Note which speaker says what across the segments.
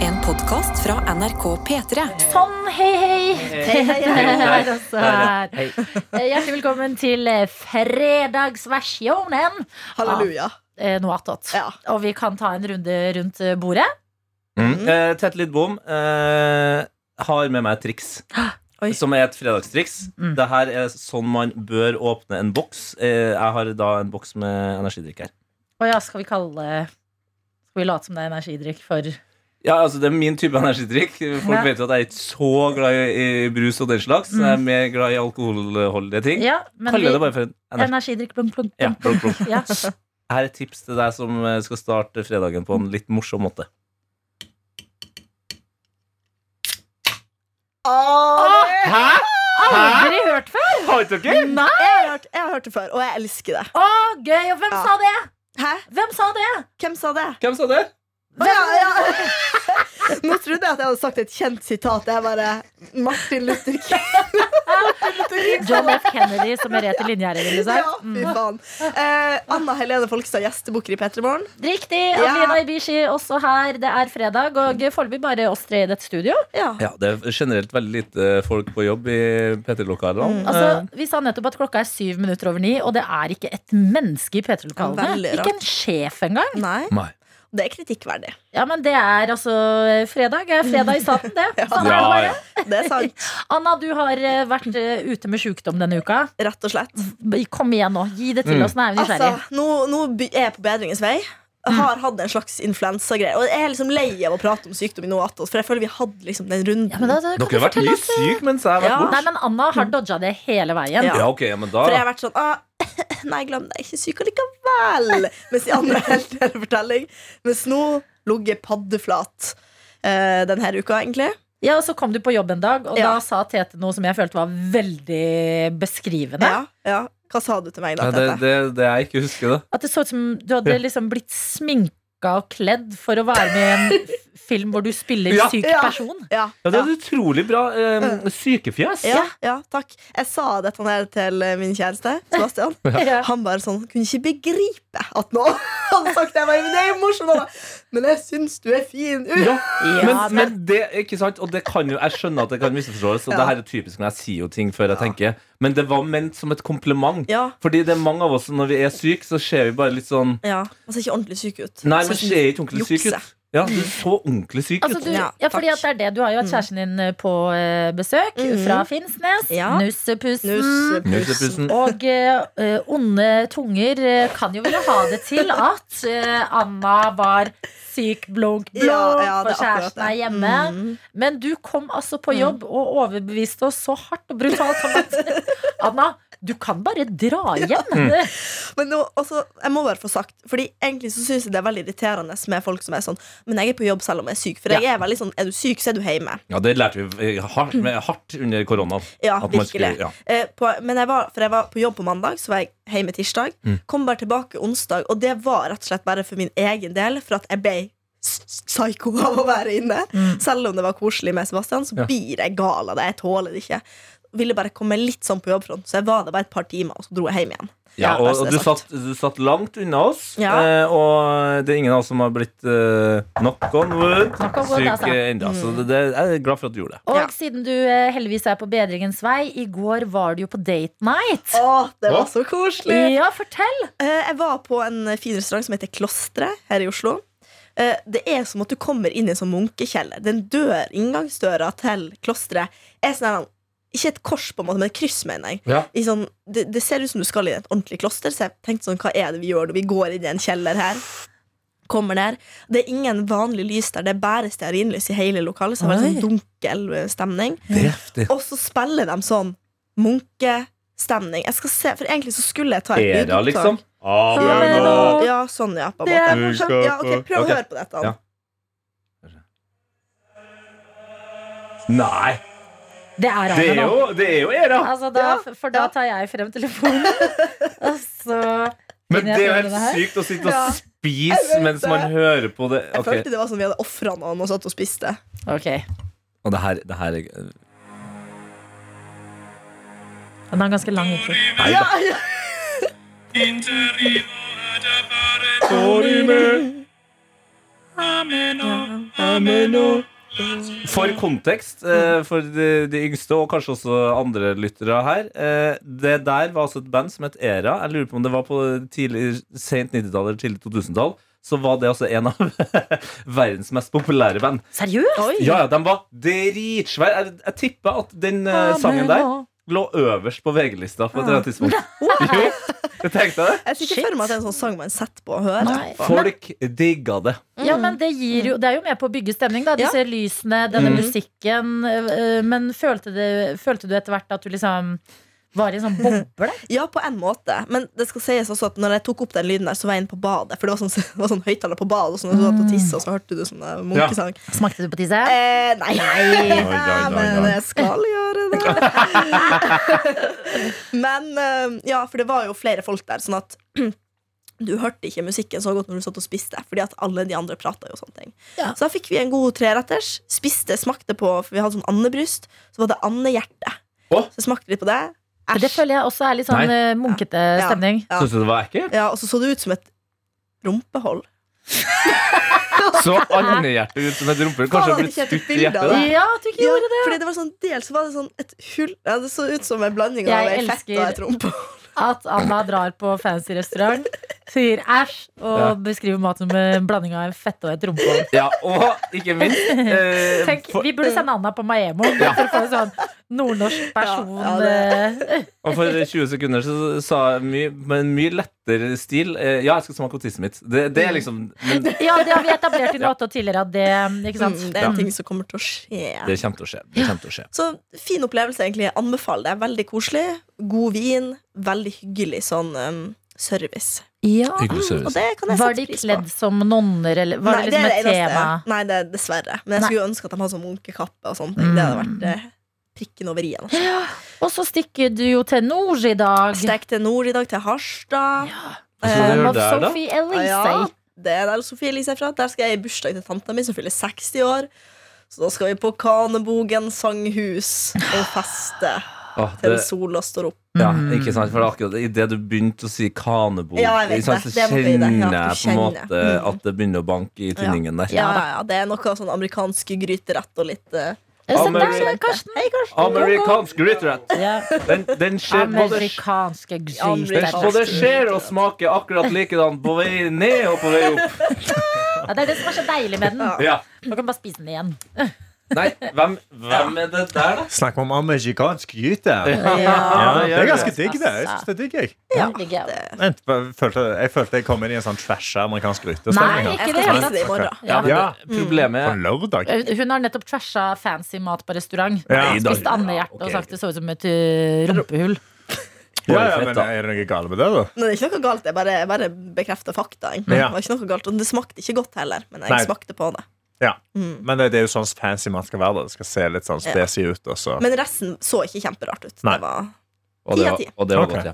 Speaker 1: En podkast fra NRK P3.
Speaker 2: Sånn, hei, hei.
Speaker 3: Hei, hei, hei.
Speaker 2: Der også her.
Speaker 3: Hei.
Speaker 2: Eh, Hjertelig velkommen til eh, fredagsversjonen
Speaker 3: Halleluja.
Speaker 2: eh, noe attåt.
Speaker 3: Ja.
Speaker 2: Og vi kan ta en runde rundt eh, bordet.
Speaker 4: Mm. Eh, tett lydbom. Eh, har med meg et triks.
Speaker 3: Oi.
Speaker 4: Som er et fredagstriks.
Speaker 2: Mm.
Speaker 4: Det her er sånn man bør åpne en boks. Eh, jeg har da en boks med energidrikk her.
Speaker 2: Å ja, skal vi kalle Skal vi late som det er energidrikk for
Speaker 4: Ja, altså Det er min type energidrikk. Folk
Speaker 2: Ja.
Speaker 4: vet jo at jeg er ikke så glad i i brus og den slags.
Speaker 2: Mm.
Speaker 4: Jeg er mer glad i alkoholholdige ting.
Speaker 2: Ja, men
Speaker 4: Kaller
Speaker 2: vi,
Speaker 4: det bare for en energi.
Speaker 2: energidrikk plunk, plunk,
Speaker 4: Ja,
Speaker 2: plunk.
Speaker 4: blunk, blunk.
Speaker 2: Ja.
Speaker 4: Her er et tips til deg som eh, skal starte fredagen på en litt morsom måte.
Speaker 3: Åh, det-
Speaker 4: Hæ?
Speaker 2: Aldri hørt før!
Speaker 4: Har ikke dere?
Speaker 2: Nei!
Speaker 3: Jeg, har hørt, jeg har hørt det før, og jeg elsker det.
Speaker 2: Å, gøy! Og hvem
Speaker 3: Ja.
Speaker 2: sa det?
Speaker 3: Hæ?
Speaker 2: Hvem sa det?
Speaker 3: Hvem sa det?
Speaker 4: Hvem sa det?
Speaker 3: Å, ja, ja. Nå trodde jeg at jeg hadde sagt et kjent sitat. Jeg bare Martin Luther King.
Speaker 2: John F. Kennedy, som er rett i linjegjerdet, ville
Speaker 3: Ja,
Speaker 2: sagt.
Speaker 3: fy
Speaker 2: Mm.
Speaker 3: faen. Eh, Anna Helene Folkstad, gjestebukker i P3 Morgen.
Speaker 2: Riktig.
Speaker 3: Ja.
Speaker 2: Adelina Ibishi også her. Det er fredag, og foreløpig bare oss tre i dette studio.
Speaker 3: Ja.
Speaker 4: Ja, Det er generelt veldig lite folk på jobb i P3-lokalene.
Speaker 2: Altså, vi sa nettopp at klokka er syv minutter over ni, og det er ikke et menneske i P3-lokalene.
Speaker 3: Veldig rart.
Speaker 2: Ikke en sjef engang.
Speaker 3: Nei,
Speaker 4: Nei.
Speaker 3: det er kritikkverdig.
Speaker 2: Ja, men det er altså eh, fredag. er Fredag i staten, det. Sånn er det
Speaker 4: Ja,
Speaker 2: bare.
Speaker 4: ja.
Speaker 3: Det er sant.
Speaker 2: Anna, du har eh, vært eh, ute med sjukdom denne uka.
Speaker 3: Rett og slett.
Speaker 2: B- Kom igjen nå. Gi det til
Speaker 4: Mm.
Speaker 2: oss. Nå er vi
Speaker 3: Altså,
Speaker 2: nysgjerrige.
Speaker 3: nå, nå by- er jeg på bedringens vei. Har hatt en slags influensagreie. Og jeg er liksom lei av å prate om sykdom i noe attåt, for jeg føler vi hadde liksom den runden.
Speaker 2: Ja, men da- da kan
Speaker 4: Dere
Speaker 2: du
Speaker 4: har vært
Speaker 2: fortelle
Speaker 4: mye
Speaker 2: oss, eh,
Speaker 4: syke mens jeg har vært
Speaker 3: Ja.
Speaker 4: borte.
Speaker 2: Nei, men Anna har dodga det hele veien.
Speaker 3: Mm. Ja.
Speaker 4: Ja, ok, ja, men da
Speaker 3: For jeg har vært sånn ah, Nei, glem det, jeg er ikke syk allikevel. Mens i andre helter fortelling. Mens nå ligger paddeflat eh, denne her uka, egentlig.
Speaker 2: Ja, og Så kom du på jobb en dag, og
Speaker 3: Ja.
Speaker 2: da sa Tete noe som jeg følte var veldig beskrivende.
Speaker 3: Ja, ja. Hva sa du til meg da,
Speaker 4: Nei, det,
Speaker 3: Tete?
Speaker 4: det, det jeg ikke husker, da.
Speaker 2: At det så ut som du hadde liksom blitt sminka og kledd for å være med i en f- film hvor du spiller
Speaker 4: Ja.
Speaker 2: syk
Speaker 3: Ja.
Speaker 2: person.
Speaker 3: Ja,
Speaker 4: Ja, det
Speaker 3: ja.
Speaker 4: er et utrolig bra eh, sykefjes.
Speaker 3: Ja, ja, takk. Jeg sa dette her til eh, min kjæreste, Sebastian.
Speaker 2: Ja.
Speaker 3: Han bare sånn kunne ikke begripe at nå hadde sagt det. Jeg bare, men det er jo morsomt. Han bare, Men jeg syns du er fin. Uh.
Speaker 4: Ja, men,
Speaker 2: Ja,
Speaker 4: men det ikke sant Og det kan jo, jeg skjønner at det kan misforstås, og
Speaker 3: Ja.
Speaker 4: det her er typisk når jeg sier jo ting før jeg tenker, men det var ment som et kompliment.
Speaker 3: Ja,
Speaker 4: Fordi det er mange av oss som når vi er syke, så ser vi bare litt sånn
Speaker 3: ja. Han ser ikke ordentlig syk ut.
Speaker 4: Nei, men
Speaker 3: Sånn-
Speaker 4: ser ikke ordentlig syk
Speaker 3: Jukse.
Speaker 4: ut. Ja, du så ordentlig syk
Speaker 2: Altså,
Speaker 4: ut.
Speaker 2: du,
Speaker 3: Ja,
Speaker 2: ja, fordi
Speaker 3: takk. Mm.
Speaker 2: at det er det. Du har jo hatt kjæresten din eh, på eh, besøk
Speaker 3: Mhm.
Speaker 2: fra Finnsnes.
Speaker 3: Ja.
Speaker 2: Nussepussen.
Speaker 3: Nussepussen.
Speaker 4: Nusepussen.
Speaker 2: Og eh, eh, onde tunger eh, kan jo ville ha det til at eh, Anna var syk, blunk, blunk,
Speaker 3: Ja, ja, det
Speaker 2: for
Speaker 3: er akkurat
Speaker 2: kjæresten
Speaker 3: det.
Speaker 2: er hjemme.
Speaker 3: Mm.
Speaker 2: Men du kom altså
Speaker 4: Mm.
Speaker 2: på jobb og overbeviste oss så hardt og brutalt om at Anna, du kan bare dra hjem.
Speaker 4: Mm.
Speaker 3: Men nå, altså, jeg må bare få sagt Fordi egentlig så synes jeg det er veldig irriterende med folk som er sånn Men jeg er på jobb selv om jeg er syk. For jeg er veldig sånn Er du syk, så er du hjemme.
Speaker 4: Ja, det lærte vi eh,
Speaker 2: Mm.
Speaker 4: hardt, med, hardt under koronaen.
Speaker 3: Ja,
Speaker 4: At man
Speaker 3: virkelig.
Speaker 4: skulle ja.
Speaker 3: Eh, på, men jeg var, for jeg var på jobb på mandag, så var jeg hjemme tirsdag.
Speaker 4: Mm.
Speaker 3: Kom bare tilbake onsdag, og det var rett og slett bare for min egen del. For at jeg ble s- psyko av å være inne. Selv om det var koselig med Sebastian, så
Speaker 4: Mm. Ja.
Speaker 3: blir jeg gal av det. Jeg tåler det ikke. Ville bare komme litt sånn på jobbfront, så jeg var der bare et par timer, og så dro jeg hjem igjen.
Speaker 4: Ja,
Speaker 3: Ja, bare
Speaker 4: og,
Speaker 3: så
Speaker 4: og
Speaker 3: det
Speaker 4: du,
Speaker 3: er
Speaker 4: satt,
Speaker 3: sagt.
Speaker 4: du satt langt unna oss,
Speaker 3: Ja.
Speaker 4: eh, og det er ingen av oss som har blitt eh, knock on wood
Speaker 2: Knock on wood,
Speaker 4: syk
Speaker 2: altså.
Speaker 4: eh, enda.
Speaker 3: Mm.
Speaker 4: Så det, det, jeg er glad for at du gjorde det.
Speaker 2: Og
Speaker 3: Ja.
Speaker 2: siden du eh, heldigvis er på bedringens vei, i går var du jo på date night.
Speaker 3: Å, det
Speaker 4: var
Speaker 3: var så koselig!
Speaker 2: Ja, fortell!
Speaker 3: Eh, Jeg var på en fin restaurant som heter Klostret her i Oslo. Eh, Det er som at du kommer inn i en sånn munkekjeller. Den dør, inngangsdøra til klosteret er sånn her, ikke et kors, på en måte, men et kryss, mener jeg.
Speaker 4: Ja.
Speaker 3: I sånn, det, det ser ut som du skal i et ordentlig kloster, så jeg tenkte sånn, hva er det vi gjør når vi går inn i en kjeller her? Kommer der. Det er ingen vanlig lys der, det er bare stearinlys i hele lokalet, så det var en sånn dunkel eh, stemning.
Speaker 4: Det er heftig.
Speaker 3: Og så spiller de sånn munkestemning. Jeg skal se, for egentlig så skulle jeg ta et
Speaker 4: Era,
Speaker 3: lydopptak.
Speaker 4: liksom. Ah,
Speaker 3: Ja,
Speaker 2: men
Speaker 3: ja,
Speaker 2: da-
Speaker 3: ja, sånn, ja. På en
Speaker 2: Det er
Speaker 3: måte.
Speaker 4: morsomt.
Speaker 3: Ja, ok, prøv
Speaker 4: Ok.
Speaker 3: å høre på dette. Ann.
Speaker 4: Ja. Nei,
Speaker 2: Det er
Speaker 4: det
Speaker 2: Anna
Speaker 4: er
Speaker 2: nå.
Speaker 4: jo, det er jo Era!
Speaker 2: Altså, da,
Speaker 3: Ja,
Speaker 2: for da
Speaker 3: ja.
Speaker 2: tar jeg frem telefonen. Og så
Speaker 4: Men det er
Speaker 2: finner jeg
Speaker 4: jo helt
Speaker 2: frem her.
Speaker 4: sykt å sitte
Speaker 3: Ja.
Speaker 4: og
Speaker 3: Jeg
Speaker 4: spise
Speaker 3: vet
Speaker 4: mens
Speaker 3: det.
Speaker 4: man hører på det.
Speaker 3: Jeg
Speaker 4: Ok.
Speaker 3: følte det var som vi hadde ofra noen og satt og spiste.
Speaker 2: Ok.
Speaker 4: Og det her, det her er-
Speaker 2: Den er ganske lang. intro.
Speaker 4: Nei
Speaker 3: Ja,
Speaker 4: da.
Speaker 3: ja.
Speaker 4: Sorry, men-
Speaker 3: Ja,
Speaker 4: meg nå. For kontekst, eh, for de, de yngste og kanskje også andre lyttere her. eh, Det der var altså et band som het Era. Jeg lurer på om det var på tidlig, sent 90-tall eller tidlig 2000-tall. Så var det altså en av verdens mest populære band.
Speaker 2: Seriøst?
Speaker 4: Ja, ja, den var dritsvær. Jeg, jeg tipper at den eh, sangen der lå øverst på VG-lista på et eller annet tidspunkt. Jo, jeg tenkte det.
Speaker 3: Jeg ser ikke
Speaker 2: Shit.
Speaker 3: for meg at det er en sånn sang man setter på og hører.
Speaker 2: Nei.
Speaker 4: Folk digga det.
Speaker 2: Ja, men det, gir jo, det er jo med på å bygge stemning, da. Disse lysene, denne
Speaker 4: Mm.
Speaker 2: musikken. øh, Men følte, det, følte du etter hvert at du liksom var i en sånn boble?
Speaker 3: Ja, på en måte. Men det skal sies også at når jeg tok opp den lyden der, så var jeg inne på badet. For det var sånn, det var sånn høyttaler på badet, og sånn, du satt og tisset, og så hørte du sånn eh, munkesang.
Speaker 2: Smakte du på tisse?
Speaker 3: Eh, nei,
Speaker 4: oi, oi, oi.
Speaker 3: men jeg skal gjøre det. men eh, ja, for det var jo flere folk der, sånn at du hørte ikke musikken så godt når du satt og spiste, fordi at alle de andre prata jo sånne ting.
Speaker 2: Ja.
Speaker 3: Så da fikk vi en god treretters. Spiste, smakte på, for vi hadde sånn andebryst. Så var det andehjerte.
Speaker 4: Å?
Speaker 3: Så smakte vi på det.
Speaker 2: Det føler jeg også er litt sånn øh, munkete
Speaker 3: Ja.
Speaker 2: stemning.
Speaker 3: Ja.
Speaker 4: Syns du det var ekkelt?
Speaker 3: Ja, og så så det ut som et rumpehold.
Speaker 4: Så andehjertet ut som et rumpehull.
Speaker 3: Faen,
Speaker 4: Kanskje
Speaker 3: hadde
Speaker 4: det blitt
Speaker 3: ikke jeg tatt
Speaker 4: skutt i
Speaker 3: bilde av
Speaker 4: hjertet.
Speaker 3: det?
Speaker 4: da.
Speaker 2: Ja, at du ikke
Speaker 3: Ja,
Speaker 2: gjorde det!
Speaker 3: fordi det var sånn dels så var det sånn et hull ja, Det så ut som en blanding av
Speaker 2: Jeg
Speaker 3: ei fett og
Speaker 2: elsker-
Speaker 3: et rumpehold.
Speaker 2: At Anna drar på fancy restaurant, sier æsj, og
Speaker 4: Ja.
Speaker 2: beskriver mat som en blanding av en fette og et rumpehår.
Speaker 4: Ja, og ikke minst eh,
Speaker 2: Tenk,
Speaker 4: for,
Speaker 2: Vi burde sende Anna på Maemmo bare for å få en sånn nordnorsk person.
Speaker 3: Ja, ja,
Speaker 2: øh,
Speaker 4: Og for 20 sekunder så sa jeg mye, med en mye lettere stil eh, Ja, jeg skal smake på tisset mitt. Det, det er liksom Men det
Speaker 2: Ja, det har vi etablert i låta tidligere. At det, ikke sant?
Speaker 3: Mm, det er en
Speaker 2: Mm.
Speaker 3: ting som kommer til å skje.
Speaker 4: kommer til å skje. Det kommer til å skje.
Speaker 3: Så fin opplevelse, egentlig. Jeg anbefaler det. Veldig koselig. God vin. Veldig hyggelig sånn um, service. Mm,
Speaker 2: Ja.
Speaker 4: Hyggelig
Speaker 3: Og det kan jeg
Speaker 2: Var
Speaker 3: sette
Speaker 2: de
Speaker 3: pris på.
Speaker 2: kledd som nonner, eller var det liksom
Speaker 3: er
Speaker 2: et
Speaker 3: eneste-
Speaker 2: tema?
Speaker 3: Nei, det er dessverre. Men jeg
Speaker 2: Nei.
Speaker 3: skulle jo ønske at de hadde sånn munkekappe og sånne ting. Det hadde vært eh, prikken over i-en. altså.
Speaker 2: Og så stikker du jo til nord i dag.
Speaker 3: Stek til nord i dag, til Harstad.
Speaker 4: Hva skal
Speaker 2: Eh,
Speaker 4: du gjøre
Speaker 2: Av
Speaker 4: der, da?
Speaker 2: Sophie Elise.
Speaker 3: Ja, det er der Sofie Elise er fra. Der skal jeg i bursdag til tanta mi, som fyller 60 år. Så da skal vi på Kanebogen sanghus og feste
Speaker 4: Åh,
Speaker 3: til
Speaker 4: det,
Speaker 3: sola står opp.
Speaker 4: ja, ikke sant, for det er akkurat Idet du begynte å si kanebo,
Speaker 3: Ja, jeg vet
Speaker 4: ikke sant,
Speaker 3: det.
Speaker 4: så
Speaker 3: Det måtte jeg gi
Speaker 4: kjenner
Speaker 3: deg. Ja, du
Speaker 4: jeg på en
Speaker 3: kjenner.
Speaker 4: måte at det begynner å banke i tinningen der.
Speaker 3: Ja, ja, ja, Det er noe sånn amerikansk gryterett og litt eh,
Speaker 2: Eh, Se der,
Speaker 4: Amerika-
Speaker 2: Karsten.
Speaker 4: Amerikansk gryterett!
Speaker 2: Ja.
Speaker 4: Den, den skjer både
Speaker 2: Amerikanske
Speaker 4: den
Speaker 2: gryter.
Speaker 4: både skjer og smaker akkurat likedan på vei ned og på vei opp.
Speaker 2: Ja, det er det som er så deilig med den.
Speaker 4: Ja.
Speaker 2: Man kan bare spise den igjen.
Speaker 4: Nei, hvem, hvem er det der, da?
Speaker 5: Snakk om amerikansk gyte.
Speaker 4: Ja,
Speaker 5: Det er ganske digg, det. Jeg synes det er digg, jeg.
Speaker 2: Ja, det er gøy.
Speaker 5: Jeg følte, jeg følte jeg kom inn i en sånn trasha amerikansk
Speaker 2: Nei,
Speaker 5: grytestemning. her.
Speaker 2: ikke
Speaker 3: Jeg
Speaker 2: det.
Speaker 3: skal
Speaker 2: hele
Speaker 3: spise
Speaker 2: tatt.
Speaker 3: det i morgen.
Speaker 4: Ja, Mm. men
Speaker 5: Ja.
Speaker 4: det- Problemet
Speaker 5: På
Speaker 4: er
Speaker 5: lørdag.
Speaker 2: Hun har nettopp trasha fancy mat på restaurant.
Speaker 5: Ja.
Speaker 2: Spist andehjerte og sagt det så ut som et eh, rumpehull.
Speaker 5: Ja, ja, men er det noe galt med det, da?
Speaker 3: Men det er ikke noe galt. Jeg bare, jeg bare bekrefter fakta. egentlig.
Speaker 5: Ja.
Speaker 3: Det var ikke noe galt, Og det smakte ikke godt heller, men jeg
Speaker 5: Nei.
Speaker 3: smakte på det.
Speaker 5: Ja. Men det, det er jo sånn fancy man skal være. da. Det skal se litt sånn spesig ut. Og så.
Speaker 3: Men resten så ikke kjemperart ut.
Speaker 5: Nei.
Speaker 3: Det var
Speaker 4: Og det,
Speaker 3: Ti av
Speaker 4: var-
Speaker 3: ti.
Speaker 4: og det var
Speaker 5: Ok.
Speaker 4: godt, ja.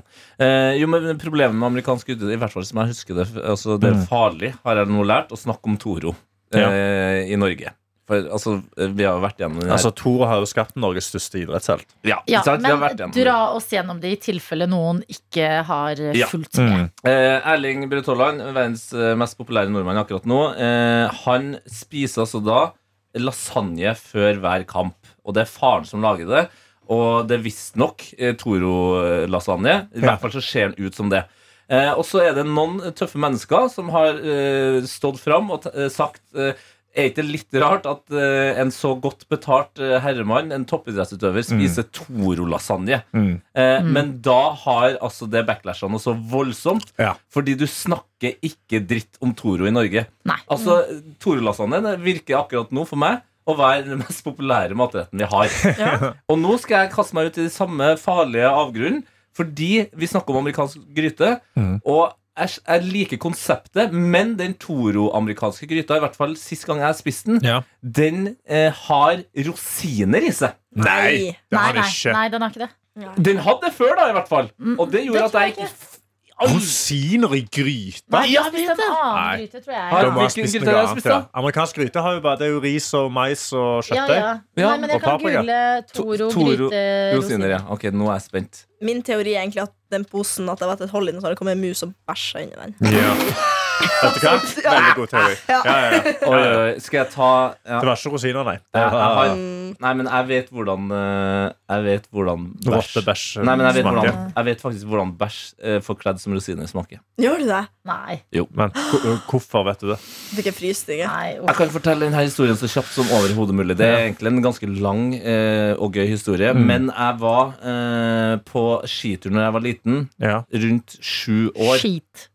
Speaker 4: Eh, jo, men Problemet med amerikansk ute, i hvert fall som jeg husker det, altså, det er farlig, har jeg nå lært, å snakke om Toro eh, i Norge. For altså, vi har jo vært gjennom den her.
Speaker 5: Altså, Tor har jo skapt Norges største idrettshelt.
Speaker 4: ja,
Speaker 2: Ja,
Speaker 4: ikke sant? vi har vært
Speaker 2: men
Speaker 4: gjennom
Speaker 2: dra oss gjennom det i tilfelle noen ikke har eh,
Speaker 4: Ja.
Speaker 2: fulgt med.
Speaker 4: Eh, Erling Braut Haaland, verdens eh, mest populære nordmann akkurat nå, eh, han spiser altså da lasagne før hver kamp. Og det er faren som lager det. Og det er visstnok eh, Toro-lasagne. I
Speaker 5: Ja.
Speaker 4: hvert fall så ser den ut som det. Eh, og så er det noen tøffe mennesker som har eh, stått fram og t eh, sagt eh, er ikke det litt rart at eh, en så godt betalt eh, herremann, en toppidrettsutøver, spiser Toro-lasagne? Eh, Men da har altså det backlashene så voldsomt,
Speaker 5: Ja.
Speaker 4: fordi du snakker ikke dritt om Toro i Norge.
Speaker 2: Nei.
Speaker 4: Altså, Toro-lasagne det virker akkurat nå for meg å være den mest populære matretten vi har. Og nå skal jeg kaste meg ut i de samme farlige avgrunnen, fordi vi snakker om amerikansk gryte.
Speaker 5: Mm.
Speaker 4: Og jeg, jeg liker konseptet, men den Toro-amerikanske gryta, i hvert fall sist gang jeg spiste den,
Speaker 5: Ja.
Speaker 4: den eh, har rosiner i seg.
Speaker 5: Nei, det
Speaker 2: Nei,
Speaker 5: har det
Speaker 2: nei,
Speaker 5: ikke.
Speaker 2: nei, den har ikke det.
Speaker 4: Den hadde det før, da, i hvert fall. Og det gjorde
Speaker 2: Mm. det
Speaker 4: at jeg
Speaker 2: tror jeg
Speaker 4: ikke f-
Speaker 5: Rosiner i gryte?
Speaker 2: Nei,
Speaker 4: Ja,
Speaker 2: jeg spiste en
Speaker 5: Nei.
Speaker 2: annen gryte, tror
Speaker 4: Har
Speaker 5: Da
Speaker 2: jeg.
Speaker 5: må jeg
Speaker 4: Hvilken
Speaker 5: spise
Speaker 4: gryte
Speaker 5: noe
Speaker 4: har jeg
Speaker 5: annet,
Speaker 4: spist,
Speaker 5: ja.
Speaker 4: da?
Speaker 5: Amerikansk gryte har jo bare Det er jo ris og mais og
Speaker 2: Ja,
Speaker 5: kjøttdeig.
Speaker 2: ja.
Speaker 4: Ja,
Speaker 2: Nei, men jeg
Speaker 5: og
Speaker 2: kan
Speaker 5: paprika.
Speaker 2: google eh,
Speaker 4: To-
Speaker 2: Toro
Speaker 4: Toro-
Speaker 2: gryte
Speaker 4: Rosiner, ja. Ok, nå er jeg spent.
Speaker 3: Min teori er egentlig at den posen at det har vært et hold i den, så har det kommet en mus og bæsja inni den.
Speaker 5: Ja. Vet du hva? Veldig god teori. Ja, ja, ja.
Speaker 4: Oi, oi, skal jeg ta ja.
Speaker 5: Det var ikke rosiner, nei. Det
Speaker 4: Jeg- jeg
Speaker 5: var
Speaker 4: har- Nei, men jeg vet hvordan eh, Jeg vet hvordan bæsj
Speaker 5: rottebæsj.
Speaker 4: Nei, men jeg vet,
Speaker 5: smaker.
Speaker 4: hvordan, jeg vet faktisk hvordan bæsj eh, forkledd som rosiner smaker.
Speaker 3: Gjør du det?
Speaker 2: Nei.
Speaker 5: Men hvor- hvorfor vet du det?
Speaker 3: Fikk jeg frysninger?
Speaker 2: nei
Speaker 4: Jeg
Speaker 2: uff.
Speaker 4: kan fortelle denne historien så kjapt som overhodet mulig. Det er egentlig en ganske lang eh, og gøy historie. Men jeg var eh, på skitur når jeg var liten.
Speaker 5: Ja.
Speaker 4: Rundt sju år.
Speaker 2: Skittur?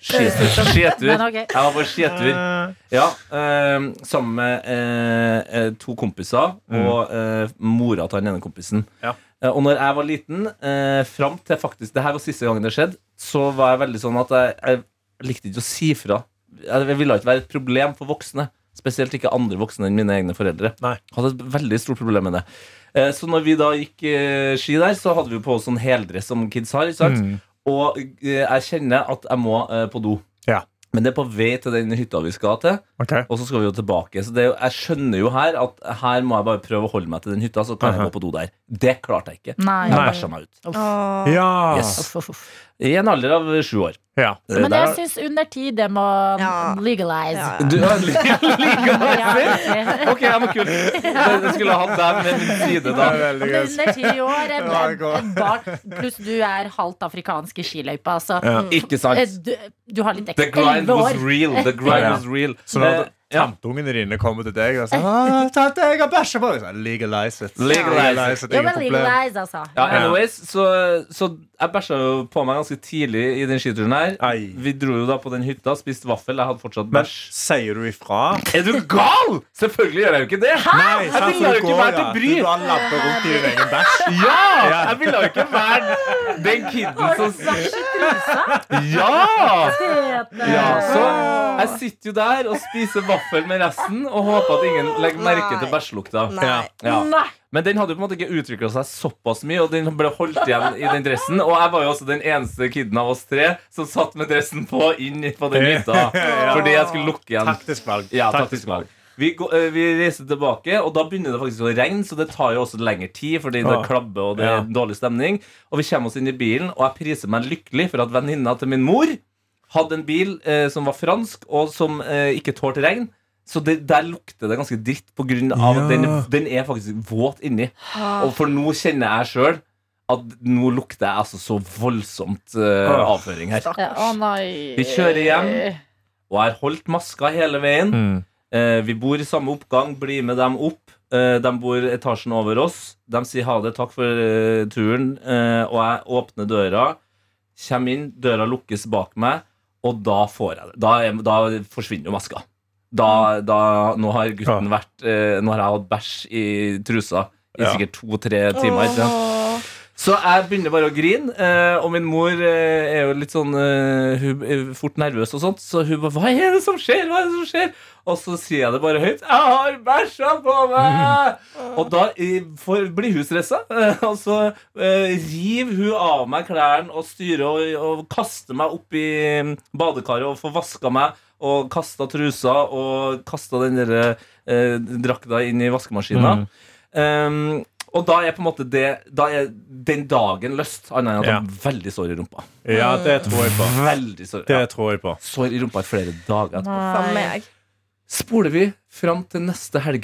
Speaker 4: Skitur. Skietur.
Speaker 2: Men ok.
Speaker 4: Jeg var på skietur. Ja, eh, sammen med eh, eh, to kompiser og eh, mora til den ene kompisen.
Speaker 5: Mm. Ja.
Speaker 4: Eh, og når jeg var liten, eh, fram til faktisk Det her var siste gangen det skjedde, så var jeg veldig sånn at jeg, jeg likte ikke å si fra. Jeg, jeg ville ikke være et problem for voksne. Spesielt ikke andre voksne enn mine egne foreldre.
Speaker 5: Nei.
Speaker 4: Hadde et veldig stort problem med det. Eh, så når vi da gikk eh, ski der, så hadde vi på oss sånn heldress som kids har. Ikke sant?
Speaker 5: Mm.
Speaker 4: Og eh, jeg kjenner at jeg må eh, på do.
Speaker 5: Ja.
Speaker 4: Men det er på vei til den hytta vi skal til.
Speaker 5: Ok.
Speaker 4: Og så skal vi jo tilbake. Så det er jo, jeg skjønner jo her at her må jeg bare prøve å holde meg til den hytta, så kan jeg
Speaker 5: Aha.
Speaker 4: gå på do der. Det klarte jeg ikke.
Speaker 2: Nei.
Speaker 4: Jeg bæsja meg ut.
Speaker 3: Åh.
Speaker 5: Ja.
Speaker 4: Yes.
Speaker 2: Uff, uff, uff.
Speaker 4: I en alder av sju år.
Speaker 5: ja.
Speaker 4: Eh,
Speaker 2: Men
Speaker 4: der-
Speaker 2: jeg syns under ti det må
Speaker 3: Ja.
Speaker 2: legalize.
Speaker 3: Ja.
Speaker 4: du, ja, li- liker det.
Speaker 2: Ja, egentlig.
Speaker 4: Ok, jeg må kult. Det det skulle jeg hatt deg ved min side
Speaker 5: Det
Speaker 4: da.
Speaker 5: er veldig
Speaker 2: Men
Speaker 5: gøy.
Speaker 2: Under ti år, en,
Speaker 5: Ja, det
Speaker 2: en,
Speaker 5: går.
Speaker 2: en bak, pluss du er halvt afrikansk i skiløypa, så
Speaker 5: Ja.
Speaker 4: Ikke
Speaker 2: eh,
Speaker 4: sant?
Speaker 2: du, du har litt
Speaker 4: The
Speaker 2: ekstra.
Speaker 4: grind
Speaker 2: Elleve
Speaker 4: was
Speaker 2: år.
Speaker 4: real. The grind
Speaker 5: Ja.
Speaker 4: was real.
Speaker 5: Så når
Speaker 4: Eh, ja.
Speaker 5: tantungene dine kommer til deg og sier «Ah, 'Tante, jeg har bæsja på', så er det legalize it.
Speaker 4: Legalize it.
Speaker 5: it.
Speaker 2: Ja,
Speaker 5: Ingen
Speaker 2: men
Speaker 5: problem.
Speaker 2: legalize, altså.
Speaker 4: Ja,
Speaker 5: Ja.
Speaker 4: anyways, så, så jeg bæsja jo på meg ganske tidlig i den skituren her.
Speaker 5: Ei.
Speaker 4: Vi dro jo da på den hytta, spiste vaffel. Jeg hadde fortsatt
Speaker 5: Men
Speaker 4: bæsj.
Speaker 5: sier du ifra?
Speaker 4: Er du gal?! Selvfølgelig gjør Ah, jeg jo ikke det.
Speaker 5: Nei, sant, for
Speaker 4: ville jo
Speaker 5: du
Speaker 4: ikke
Speaker 5: går,
Speaker 4: vært
Speaker 5: ja.
Speaker 4: til bry.
Speaker 5: Du bare labber rundt i din egen bæsj.
Speaker 4: Ja! Jeg ville jo ikke være den kiden
Speaker 2: Har du
Speaker 4: som
Speaker 2: bæsj i trusa?
Speaker 4: Ja!
Speaker 2: Tete.
Speaker 4: ja! Så jeg sitter jo der og spiser vaffel med resten og håper at ingen legger merke til bæsjelukta.
Speaker 3: Nei.
Speaker 5: Ja.
Speaker 4: Ja.
Speaker 2: Nei.
Speaker 4: Men den hadde jo på en måte ikke utvikla seg såpass mye, og den ble holdt igjen i den dressen. Og jeg var jo også den eneste kiden av oss tre som satt med dressen på inn på den hytta. Fordi jeg skulle lukke igjen.
Speaker 5: Taktisk valg.
Speaker 4: Ja, taktisk valg. Vi, går, eh, vi reiser tilbake, og da begynner det faktisk å regne. Så det tar jo også lengre tid, fordi det
Speaker 5: Ja.
Speaker 4: klabber og det
Speaker 5: Ah. Ja.
Speaker 4: er dårlig stemning. Og vi kommer oss inn i bilen, og jeg priser meg lykkelig for at venninna til min mor hadde en bil eh, som var fransk, og som eh, ikke tålte regn. Så det, der lukter det ganske dritt, på grunn av at den,
Speaker 5: Ja.
Speaker 4: den er faktisk våt inni.
Speaker 3: Åh.
Speaker 4: Og for nå kjenner jeg sjøl at nå lukter jeg altså så voldsomt eh,
Speaker 5: Åh.
Speaker 4: avføring her.
Speaker 2: Ja, Å, nei.
Speaker 4: Vi kjører hjem. Og jeg har holdt maska hele veien.
Speaker 5: Mm.
Speaker 4: Eh, vi bor i samme oppgang, bli med dem opp. Eh, de bor etasjen over oss. De sier ha det, takk for eh, turen. Eh, og jeg åpner døra, kommer inn, døra lukkes bak meg, og da får jeg det. Da, er- da forsvinner jo maska. Da, da, nå har gutten vært eh, Nå har jeg hatt bæsj i trusa i
Speaker 5: Ja.
Speaker 4: sikkert to-tre timer. ikke sant? Så jeg begynner bare å grine, eh, og min mor eh, er jo litt sånn eh, Hun er fort nervøs og sånt, så hun bare 'Hva er det som skjer?' Hva er det som skjer? Og så sier jeg det bare høyt. 'Jeg har bæsja på meg!' Og da eh, får, blir hun stressa, eh, og så eh, river hun av meg klærne og styrer og, og kaster meg opp i mm, badekaret og får vaska meg. Og kasta trusa og kasta den der, eh, drakta inn i vaskemaskina. Um, og da er på en måte det Da er den dagen løst, annet enn at
Speaker 5: Ja.
Speaker 4: han er veldig sår i rumpa.
Speaker 5: Ja, det tror jeg på.
Speaker 4: Veldig sår,
Speaker 5: Det
Speaker 4: ja.
Speaker 5: tror jeg på.
Speaker 4: sår i rumpa i flere dager etterpå.
Speaker 3: Faen meg.
Speaker 4: Spoler vi fram til neste helg.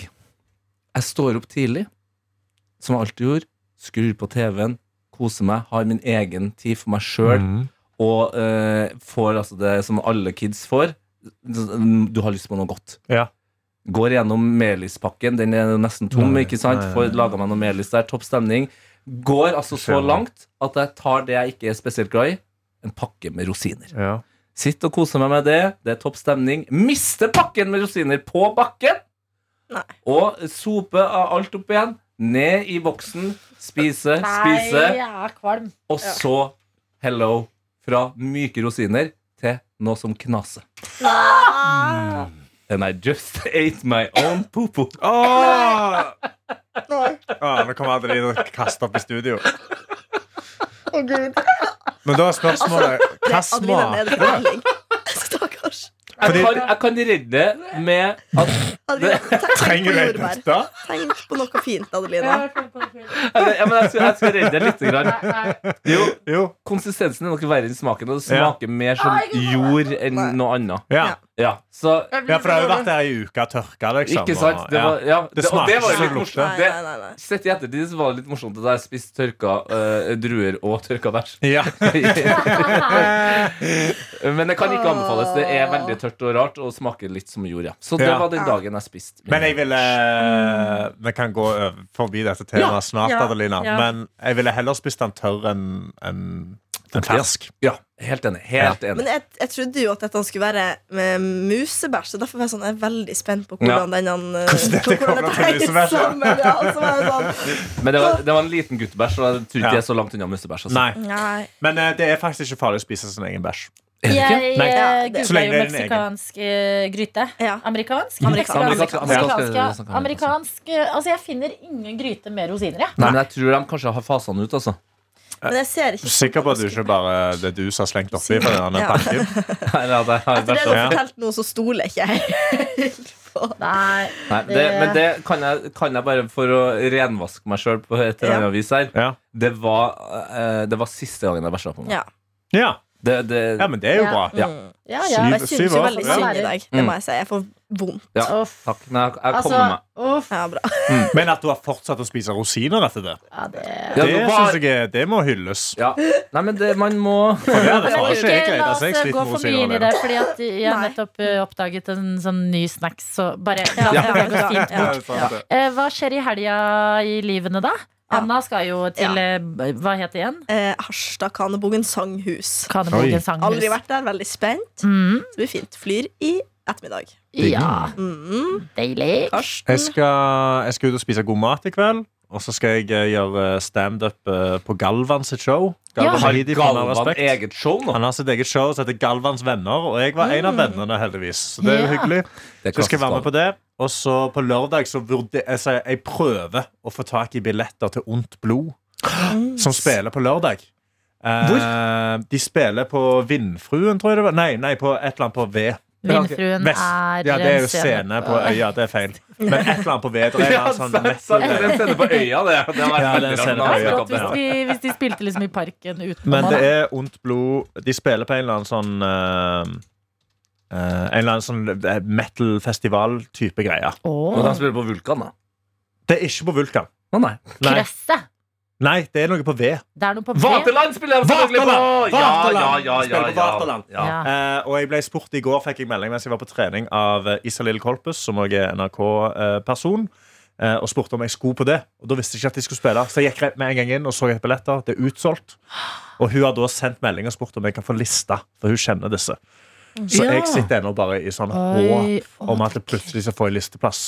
Speaker 4: Jeg står opp tidlig, som jeg alltid gjorde. Skrur på TV-en, koser meg, har min egen tid for meg sjøl.
Speaker 5: Mm.
Speaker 4: Og eh, får altså det som alle kids får. Du har lyst på noe godt.
Speaker 5: Ja.
Speaker 4: Går gjennom melispakken. Den er jo nesten tom.
Speaker 5: Nei,
Speaker 4: ikke sant?
Speaker 5: nei, nei.
Speaker 4: Får laga meg noe melis der. Topp stemning. Går altså så
Speaker 5: Skjønner.
Speaker 4: langt at jeg tar det jeg ikke er spesielt glad i. En pakke med rosiner.
Speaker 5: Ja.
Speaker 4: Sitt og kose meg med det. Det er topp stemning. Mister pakken med rosiner på bakken!
Speaker 3: Nei.
Speaker 4: Og sope av alt opp igjen. Ned i boksen. Spise, spise.
Speaker 2: Nei, jeg er kvalm.
Speaker 4: Og så hello fra myke rosiner til noe som knaser. And I just ate my own popo.
Speaker 5: Åh! Åh, nå kommer Adeline og kaster opp i studio. Men da er spørsmålet hva smaker
Speaker 3: Adelina
Speaker 2: Altså,
Speaker 3: nede på melding. Stakkars.
Speaker 4: Jeg
Speaker 5: Fordi-
Speaker 4: kan, jeg kan redde det med at
Speaker 3: Adelina, tenk, tenk på
Speaker 5: Trenger du ei
Speaker 3: jordbær.
Speaker 5: pute?
Speaker 3: Tenk på noe fint, Adelina.
Speaker 4: ja, men jeg, skal, jeg skal redde det litt. Grann. Jo,
Speaker 5: Jo.
Speaker 4: konsistensen er noe verre enn smaken, og det smaker mer som jord enn noe annet.
Speaker 5: Ja.
Speaker 4: Ja, så
Speaker 5: ja, for det har jo vært der i uka og tørka, liksom.
Speaker 4: Ikke sant?
Speaker 5: og-
Speaker 4: Det var,
Speaker 5: ja.
Speaker 4: ja,
Speaker 5: Det
Speaker 4: det, og det
Speaker 5: smaker
Speaker 4: var jo
Speaker 5: som
Speaker 4: litt
Speaker 5: lukter.
Speaker 3: Nei,
Speaker 4: morsomt.
Speaker 3: nei,
Speaker 4: Det,
Speaker 3: nei, nei.
Speaker 4: sett i ettertid så var det litt morsomt at jeg spiste tørka eh, druer og tørka bæsj.
Speaker 5: Ja.
Speaker 4: Men det kan ikke anbefales. Det er veldig tørt og rart og smaker litt som jord. Ja. Så det
Speaker 5: Ja.
Speaker 4: var den dagen jeg spiste.
Speaker 5: Men jeg ville eh, Vi kan gå over- forbi dette temaet snart,
Speaker 2: ja,
Speaker 5: Adelina.
Speaker 2: ja.
Speaker 5: Men jeg ville heller spist den tørr enn enn- enn fersk.
Speaker 4: Ja, helt enig. Helt
Speaker 3: Men
Speaker 4: enig.
Speaker 3: jeg, jeg trodde jo at dette skulle være med musebæsj, så derfor var jeg sånn, jeg er veldig spent på hvordan den eh,
Speaker 5: Hvordan dette
Speaker 3: hvordan
Speaker 5: kommer
Speaker 3: dette
Speaker 5: til
Speaker 3: henger
Speaker 5: musebæsj, ja.
Speaker 3: sammen. Ja, og så var jeg sånn
Speaker 4: Men det var, det var en liten guttebæsj, så jeg tror ikke
Speaker 5: Ja.
Speaker 4: jeg er så langt unna mustebæsj. Altså.
Speaker 5: Nei.
Speaker 3: Nei.
Speaker 5: Men eh, det er faktisk ikke farlig å spise sin egen bæsj.
Speaker 2: Jeg
Speaker 5: Nei.
Speaker 2: eh,
Speaker 3: Ja,
Speaker 2: googla
Speaker 5: så lenge
Speaker 2: jo
Speaker 5: det er din egen.
Speaker 2: meksikansk eh, gryte.
Speaker 3: Ja.
Speaker 2: Amerikansk? Meksikansk.
Speaker 3: Amerikansk.
Speaker 4: Amerikansk.
Speaker 2: Amerikansk, ja.
Speaker 4: Amerikansk.
Speaker 2: Amerikansk, eh, Altså, jeg finner ingen gryte med rosiner, jeg.
Speaker 4: Nei, men jeg tror de kanskje har fasa den ut, altså.
Speaker 3: Men jeg ser ikke
Speaker 5: Sikker på at du ikke bare det du som har slengt oppi fra denne
Speaker 3: Ja.
Speaker 5: pakken.
Speaker 4: Eller at jeg har
Speaker 3: Etter det sånn- du
Speaker 4: bæsja.
Speaker 5: Ja.
Speaker 3: har fortalt nå, så stoler jeg ikke jeg.
Speaker 2: Nei.
Speaker 4: Nei, det, men det kan jeg, kan jeg bare for å renvaske meg sjøl på et eller annet vis her.
Speaker 5: Ja.
Speaker 4: Det var, eh, det var siste gangen jeg bæsja på meg.
Speaker 3: Ja.
Speaker 5: Ja.
Speaker 4: Det, det,
Speaker 5: ja, men det er jo
Speaker 2: Ja.
Speaker 5: bra.
Speaker 4: Ja.
Speaker 2: Ja,
Speaker 5: Syv-
Speaker 2: ja.
Speaker 3: Men jeg
Speaker 5: syv
Speaker 3: synes jo
Speaker 5: år, Mm.
Speaker 3: veldig
Speaker 5: ja.
Speaker 3: synd i dag. Det må jeg si. Jeg får vondt.
Speaker 4: ja.
Speaker 2: Uff.
Speaker 4: Takk. Nei, jeg, jeg
Speaker 2: Altså,
Speaker 4: kommer meg.
Speaker 2: uff.
Speaker 3: Ja, bra.
Speaker 5: Men at du har fortsatt å spise rosiner etter det,
Speaker 2: Ja, det
Speaker 4: Ja,
Speaker 5: det
Speaker 4: nå var-
Speaker 5: synes jeg er- det må hylles.
Speaker 4: Ja. Nei, men det, man må
Speaker 5: For det er det
Speaker 2: Men
Speaker 5: faen
Speaker 2: ikke,
Speaker 5: ikke jeg
Speaker 2: la
Speaker 5: gleder
Speaker 2: oss
Speaker 5: seg. Jeg
Speaker 2: gå
Speaker 5: sliter med
Speaker 2: for mye
Speaker 5: rosiner.
Speaker 2: inn i det,
Speaker 5: allerede.
Speaker 2: fordi at jeg har
Speaker 3: Nei.
Speaker 2: nettopp eh, oppdaget en sånn ny snacks, så bare la
Speaker 3: Ja,
Speaker 2: oss
Speaker 3: ja,
Speaker 2: bare gå
Speaker 3: ja,
Speaker 2: fint
Speaker 3: ja.
Speaker 5: Ja, det er sant, det.
Speaker 2: Eh, Hva skjer i helga i livene, da?
Speaker 3: Ja.
Speaker 2: Anna skal jo til
Speaker 3: Ja.
Speaker 2: eh, b- Hva heter det igjen?
Speaker 3: Eh, Harstad Kanebogen
Speaker 5: Oi.
Speaker 3: sanghus.
Speaker 2: Kanebogen sanghus.
Speaker 3: Aldri vært der. Veldig spent.
Speaker 2: Mm,
Speaker 3: Det blir fint. Flyr i ettermiddag.
Speaker 2: ja,
Speaker 3: Mm.
Speaker 2: deilig.
Speaker 5: Jeg
Speaker 3: Karsten.
Speaker 5: skal, jeg skal ut og spise god mat i kveld. Og så skal jeg eh, gjøre standup eh, på Galvan sitt show.
Speaker 2: Ja.
Speaker 5: Galvan
Speaker 4: Har
Speaker 5: Mehidi, for all
Speaker 4: Galvan
Speaker 5: respekt.
Speaker 4: eget show nå?
Speaker 5: Han har sitt eget show som heter Galvans venner, og jeg var en av vennene, heldigvis. Så det er jo
Speaker 2: Ja.
Speaker 5: hyggelig.
Speaker 4: Det
Speaker 5: Så skal jeg være med
Speaker 4: kaster
Speaker 5: på det. Og så på lørdag så vurder, altså, jeg prøver å få tak i billetter til Ondt blod, som spiller på lørdag. Eh, De spiller på Vindfruen, tror jeg det var. Nei, nei på et eller annet på V.
Speaker 2: Vindfruen
Speaker 5: Vest.
Speaker 2: er eh,
Speaker 5: Ja, det er jo
Speaker 2: en
Speaker 5: scene på Øya. Det er feil. Men et eller annet på V. Det er
Speaker 4: Ja,
Speaker 5: en
Speaker 4: sant,
Speaker 5: sånn
Speaker 4: sant, det er en scene på øya, det. Det har vært
Speaker 5: Ja, det er
Speaker 4: veldig
Speaker 5: en scene
Speaker 4: rart.
Speaker 2: Det
Speaker 5: på øya.
Speaker 2: er
Speaker 4: Nå har
Speaker 2: godt hvis
Speaker 4: vi tatt det.
Speaker 2: de, hvis de spilte liksom i parken utenom.
Speaker 5: Men det
Speaker 2: da.
Speaker 5: er ondt blod. De spiller på en eller annen sånn eh, eh, En eller annen sånn eh, metal-festival-type greie.
Speaker 2: Åh,
Speaker 4: Men de spiller på Vulkan, da.
Speaker 5: Det er ikke på Vulkan.
Speaker 4: Å, nei.
Speaker 5: Nei,
Speaker 2: Kresset!
Speaker 5: nei det er noe på V.
Speaker 2: Det er noe på V.
Speaker 4: Vaterland spiller de selvfølgelig på!
Speaker 5: Vaterland!
Speaker 4: Ja,
Speaker 5: Vaterland!
Speaker 4: ja, ja, ja,
Speaker 5: Spiller på
Speaker 4: ja,
Speaker 5: Vaterland.
Speaker 4: ja.
Speaker 2: Ja.
Speaker 5: Eh, og jeg ble spurt i går, fikk jeg melding mens jeg var på trening av eh, Isalill Kolpus, som også er NRK-person, eh, og spurte om jeg skulle på det. Og da visste jeg ikke at de skulle spille, så jeg gikk rett med en gang inn og så etter billetter. Det er utsolgt. Og hun har da sendt melding og spurt om jeg kan få lista, for hun kjenner disse. Så
Speaker 2: Ja.
Speaker 5: jeg sitter ennå bare i sånn
Speaker 2: Oi,
Speaker 5: håp om at jeg plutselig skal få en listeplass.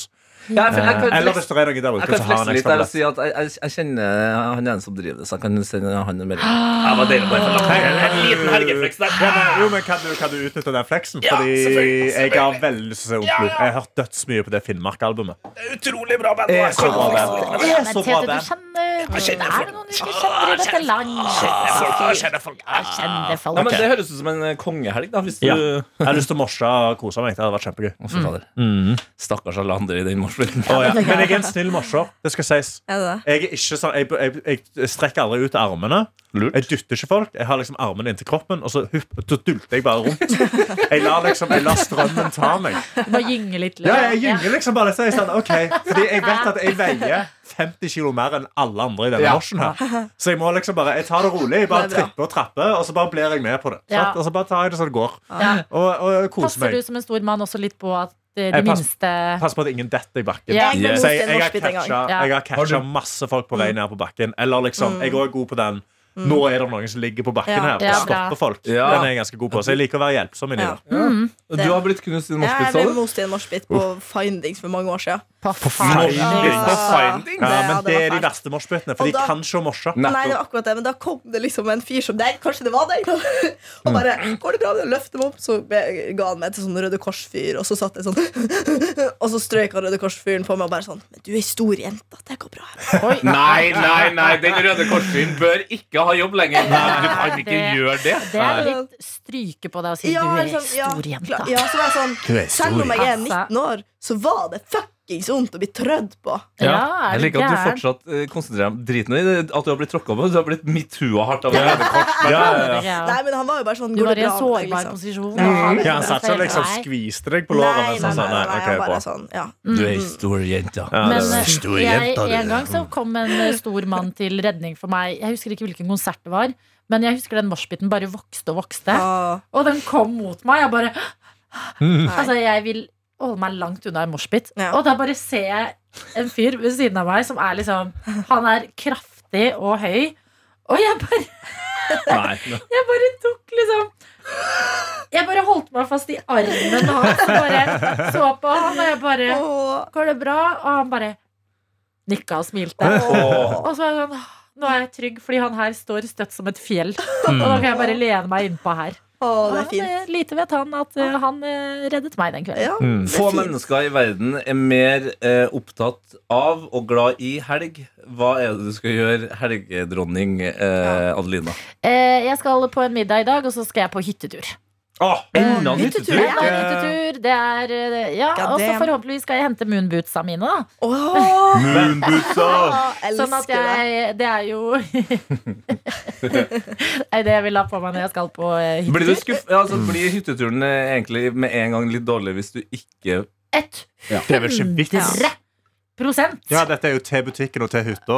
Speaker 4: Ja, for jeg
Speaker 5: Eh,
Speaker 4: kan
Speaker 5: eller hvis det
Speaker 4: flekse-
Speaker 5: er noe der
Speaker 4: jeg
Speaker 5: ute, så
Speaker 4: kan
Speaker 5: har
Speaker 4: flekse
Speaker 5: han
Speaker 4: litt
Speaker 5: ekstra
Speaker 4: der og
Speaker 5: billett.
Speaker 4: si at jeg, jeg, jeg kjenner han ene som driver det, så jeg kan sende han en melding. Jeg var deilig bare for å ta en liten helgefleks der.
Speaker 5: Ja, men, jo, men kan du, kan du utnytte den fleksen? Fordi
Speaker 4: selvfølgelig,
Speaker 5: jeg har veldig lyst til å se Onkel Blod. Jeg har hørt dødsmye på det Finnmark-albumet.
Speaker 4: Utrolig bra band.
Speaker 5: Det er så bra band. Det er
Speaker 2: Men
Speaker 5: så
Speaker 2: Tete,
Speaker 5: bra
Speaker 2: du
Speaker 5: band.
Speaker 2: kjenner, er det noen du ikke kjenner i dette landet? Jeg kjenner folk.
Speaker 4: Ja, men Det høres ut som en eh, kongehelg, da. Hvis du
Speaker 5: Ja. Jeg har lyst til å morse og kose meg. Det hadde vært kjempegøy.
Speaker 4: Å, fy fader. Stakkars alle andre i den morsflytten.
Speaker 5: Å, ja. Men jeg er en snill morser. Det skal sies.
Speaker 3: Er det det?
Speaker 5: Jeg, er ikke sånn, jeg, jeg, jeg strekker aldri ut armene.
Speaker 4: Lurt.
Speaker 5: Jeg dytter ikke folk. Jeg har liksom armene inntil kroppen, og så, hupp, så dulter jeg bare rundt. Jeg lar, liksom, jeg lar strømmen ta meg.
Speaker 2: Du må gynge litt.
Speaker 5: Ja, jeg gynger liksom bare så jeg er sånn, ok Fordi jeg vet at jeg veier 50 kilo mer enn alle andre i denne
Speaker 4: Ja.
Speaker 5: marsjen her Så jeg må liksom bare, jeg tar det rolig Jeg bare
Speaker 3: Det er bra.
Speaker 5: tripper og trapper, og så bare blir jeg med på det
Speaker 2: Ja.
Speaker 5: sant? Og så bare tar jeg det sånn det går
Speaker 2: Ja.
Speaker 5: Og, og koser
Speaker 2: Passer
Speaker 5: meg
Speaker 2: du som en stor mann også litt på at eh, de
Speaker 5: Jeg passer-
Speaker 2: minste
Speaker 5: Pass på at ingen detter i bakken
Speaker 2: Ja.
Speaker 3: Jeg ble
Speaker 4: Yes.
Speaker 5: Så
Speaker 3: mot i
Speaker 5: jeg,
Speaker 3: en
Speaker 5: jeg, har
Speaker 3: moshpit en
Speaker 5: catcha,
Speaker 3: gang. Mm.
Speaker 2: Ja.
Speaker 5: jeg har catcha masse folk på vei ned på bakken Eller liksom, jeg er også god på den Nå er det noen som ligger på bakken
Speaker 3: Ja.
Speaker 5: her Og
Speaker 2: Ja, bra.
Speaker 5: stopper folk
Speaker 4: Ja.
Speaker 5: Den er jeg ganske god på Så jeg liker å være hjelpsom inni
Speaker 3: Ja.
Speaker 5: det
Speaker 4: Du har blitt knust i en
Speaker 3: Jeg
Speaker 4: morsflytt, sa
Speaker 3: ble
Speaker 4: du?
Speaker 3: most i en moshpit på Findings for mange år siden.
Speaker 2: på
Speaker 5: Findings.
Speaker 2: findings.
Speaker 3: Ah.
Speaker 4: Findings?
Speaker 5: ja, men
Speaker 3: det
Speaker 5: det er
Speaker 3: var
Speaker 5: de
Speaker 3: fælt.
Speaker 5: verste morsbyttene For
Speaker 3: Og
Speaker 5: de
Speaker 3: da-
Speaker 5: kan ikke morse
Speaker 3: Nei, det var akkurat det, men da kom det liksom en fyr som deg. Kanskje det var deg? Og bare
Speaker 5: Mm.
Speaker 3: går det bra? Jeg løfter meg opp, så be- ga han meg til sånn Røde Kors-fyr. Og så satt jeg sånn Og så strøk han Røde Kors-fyren på meg og bare sånn Men du er ei stor jente. Det går bra.
Speaker 4: Nei, nei, nei, den Røde Korsfyren bør ikke å ha jobb lenger. Nei, du kan ikke
Speaker 2: det-
Speaker 4: gjøre det.
Speaker 2: Det er litt stryke på deg og si
Speaker 3: Ja,
Speaker 2: du er
Speaker 3: liksom, ja,
Speaker 2: stor jenta.
Speaker 3: klar- Ja, så var jeg
Speaker 5: Du er
Speaker 3: sånn
Speaker 5: stor.
Speaker 3: Selv om jeg er
Speaker 2: Altså.
Speaker 3: 19 år, så var det fuckings vondt å bli trødd på.
Speaker 2: Ja, er
Speaker 4: jeg
Speaker 2: du
Speaker 4: liker at du
Speaker 2: gæren?
Speaker 4: fortsatt eh, konsentrerer deg om driten i det, at du har blitt tråkka på. Du har blitt metoo-a hardt av å gjøre det kort.
Speaker 5: Ja, ja, ja.
Speaker 2: Ja.
Speaker 3: Nei, men han var jo bare sånn
Speaker 2: Du
Speaker 3: Går
Speaker 2: var i
Speaker 3: det
Speaker 2: en
Speaker 3: bra med deg?
Speaker 2: sårbar
Speaker 3: Liksom.
Speaker 2: posisjon.
Speaker 3: Mm.
Speaker 5: Ja, han satt ikke og liksom
Speaker 2: Nei.
Speaker 5: skviste deg på
Speaker 3: Nei,
Speaker 5: låret.
Speaker 3: nei,
Speaker 5: men
Speaker 3: nei,
Speaker 5: sånn,
Speaker 3: nei,
Speaker 5: sånn, nei, ok,
Speaker 3: han
Speaker 5: bra.
Speaker 3: bare sånn ja.
Speaker 4: Du er ei stor jente.
Speaker 5: Ja, det
Speaker 2: Men
Speaker 5: var-
Speaker 2: eh, jeg, en gang så kom en eh, stor mann til redning for meg. Jeg husker ikke hvilken konsert det var, men jeg husker den moshpiten bare vokste og vokste.
Speaker 3: Ah,
Speaker 2: Og den kom mot meg. Jeg bare
Speaker 5: Mm.
Speaker 2: Altså, jeg vil holde meg langt unna en moshpit.
Speaker 3: Ja.
Speaker 2: Og da bare ser jeg en fyr ved siden av meg som er liksom Han er kraftig og høy. Og jeg bare,
Speaker 4: Nei.
Speaker 2: jeg bare tok liksom Jeg bare holdt meg fast i armen hans og bare så på han, og jeg bare
Speaker 3: åh,
Speaker 2: Går det bra? Og han bare nikka og smilte.
Speaker 4: Åh.
Speaker 2: Og så er jeg sånn «Åh, Nå er jeg trygg, fordi han her står støtt som et fjell. Og da kan jeg bare lene meg innpå her.
Speaker 3: åh,
Speaker 2: Og
Speaker 3: det
Speaker 2: han,
Speaker 3: er fint.
Speaker 2: eh, lite vet han at eh, han eh, reddet meg den kvelden.
Speaker 3: Ja,
Speaker 5: Mm.
Speaker 3: det
Speaker 4: Få
Speaker 3: er fint.
Speaker 4: mennesker i verden er mer eh, opptatt av og glad i helg. Hva er det du skal gjøre, helgedronning eh, Adelina?
Speaker 2: Eh, jeg skal på en middag i dag, og så skal jeg på hyttetur.
Speaker 5: Åh,
Speaker 4: Enda en
Speaker 3: Eh, hyttetur,
Speaker 4: hyttetur!
Speaker 2: Det er en hyttetur, det er eh, Ja,
Speaker 3: Ja,
Speaker 2: og så
Speaker 3: det-
Speaker 2: forhåpentligvis skal jeg hente moonbootsa mine, da.
Speaker 3: Åh,
Speaker 5: Moonbootser!
Speaker 3: åh,
Speaker 2: Sånn at
Speaker 3: elsker det.
Speaker 2: jeg Det er jo Nei, det jeg vil ha på meg når jeg skal på eh,
Speaker 4: Blir, du
Speaker 2: hyttetur.
Speaker 4: skuff... ja, altså, blir hytteturen eh, egentlig med en gang litt dårlig hvis du ikke
Speaker 5: Det er vel ikke vits.
Speaker 2: 100 prosent.
Speaker 5: Ja, dette er jo til butikken og til hytta,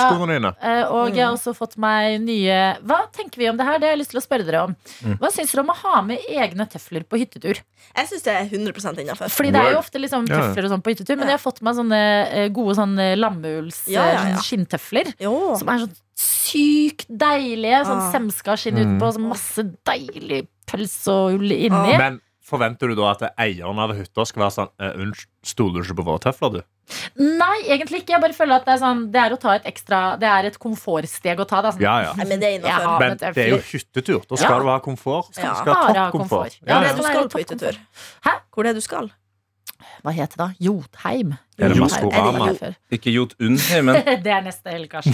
Speaker 5: skoene dine.
Speaker 2: Eh, Og jeg har
Speaker 3: Mm.
Speaker 2: også fått meg nye Hva tenker vi om det her? Det har jeg lyst til å spørre dere om.
Speaker 5: Mm.
Speaker 2: Hva syns dere om å ha med egne tøfler på hyttetur?
Speaker 3: Jeg syns det er 100 innafor.
Speaker 2: Fordi det er jo
Speaker 4: Word.
Speaker 2: ofte liksom
Speaker 5: Ja.
Speaker 2: tøfler og sånn på hyttetur, men
Speaker 3: Ja.
Speaker 2: jeg har fått meg sånne eh, gode sånne lammeuls
Speaker 3: Ja, ja, ja.
Speaker 2: eh, skinntøfler.
Speaker 3: Jo.
Speaker 2: Som er sånn sykt deilige. Sånn
Speaker 3: Ah.
Speaker 2: semska skinn
Speaker 5: Mm.
Speaker 2: utenpå, sånn masse deilig pøls og ull inni.
Speaker 3: Ja.
Speaker 5: Men forventer du da at eieren av hytta skal være sånn eh, Unnskyld, stoler du ikke på våre tøfler, du?
Speaker 2: Nei, egentlig ikke. Jeg bare føler at det er sånn Det er å ta et ekstra Det er et komfortsteg å ta. Det er sånn,
Speaker 5: Ja, ja.
Speaker 3: Nei, men det er
Speaker 2: Jeg har-
Speaker 3: innafor.
Speaker 5: Men det er jo hyttetur. Da skal
Speaker 2: Ja.
Speaker 5: du ha komfort. Du
Speaker 3: Ja.
Speaker 5: skal ha
Speaker 2: Bare ha
Speaker 5: toppkomfort.
Speaker 2: komfort.
Speaker 5: Ja,
Speaker 3: Hvor er
Speaker 5: ja.
Speaker 3: det du
Speaker 2: Ja, ja.
Speaker 3: skal på hyttetur?
Speaker 2: Hæ?
Speaker 3: Hvor er det du skal?
Speaker 2: Hva heter det da? Jotheim.
Speaker 5: Er det
Speaker 2: Jotheim.
Speaker 5: Maskorama?
Speaker 2: Er det ikke-
Speaker 4: Ikke Jotunheimen.
Speaker 2: Det er neste helg, kanskje.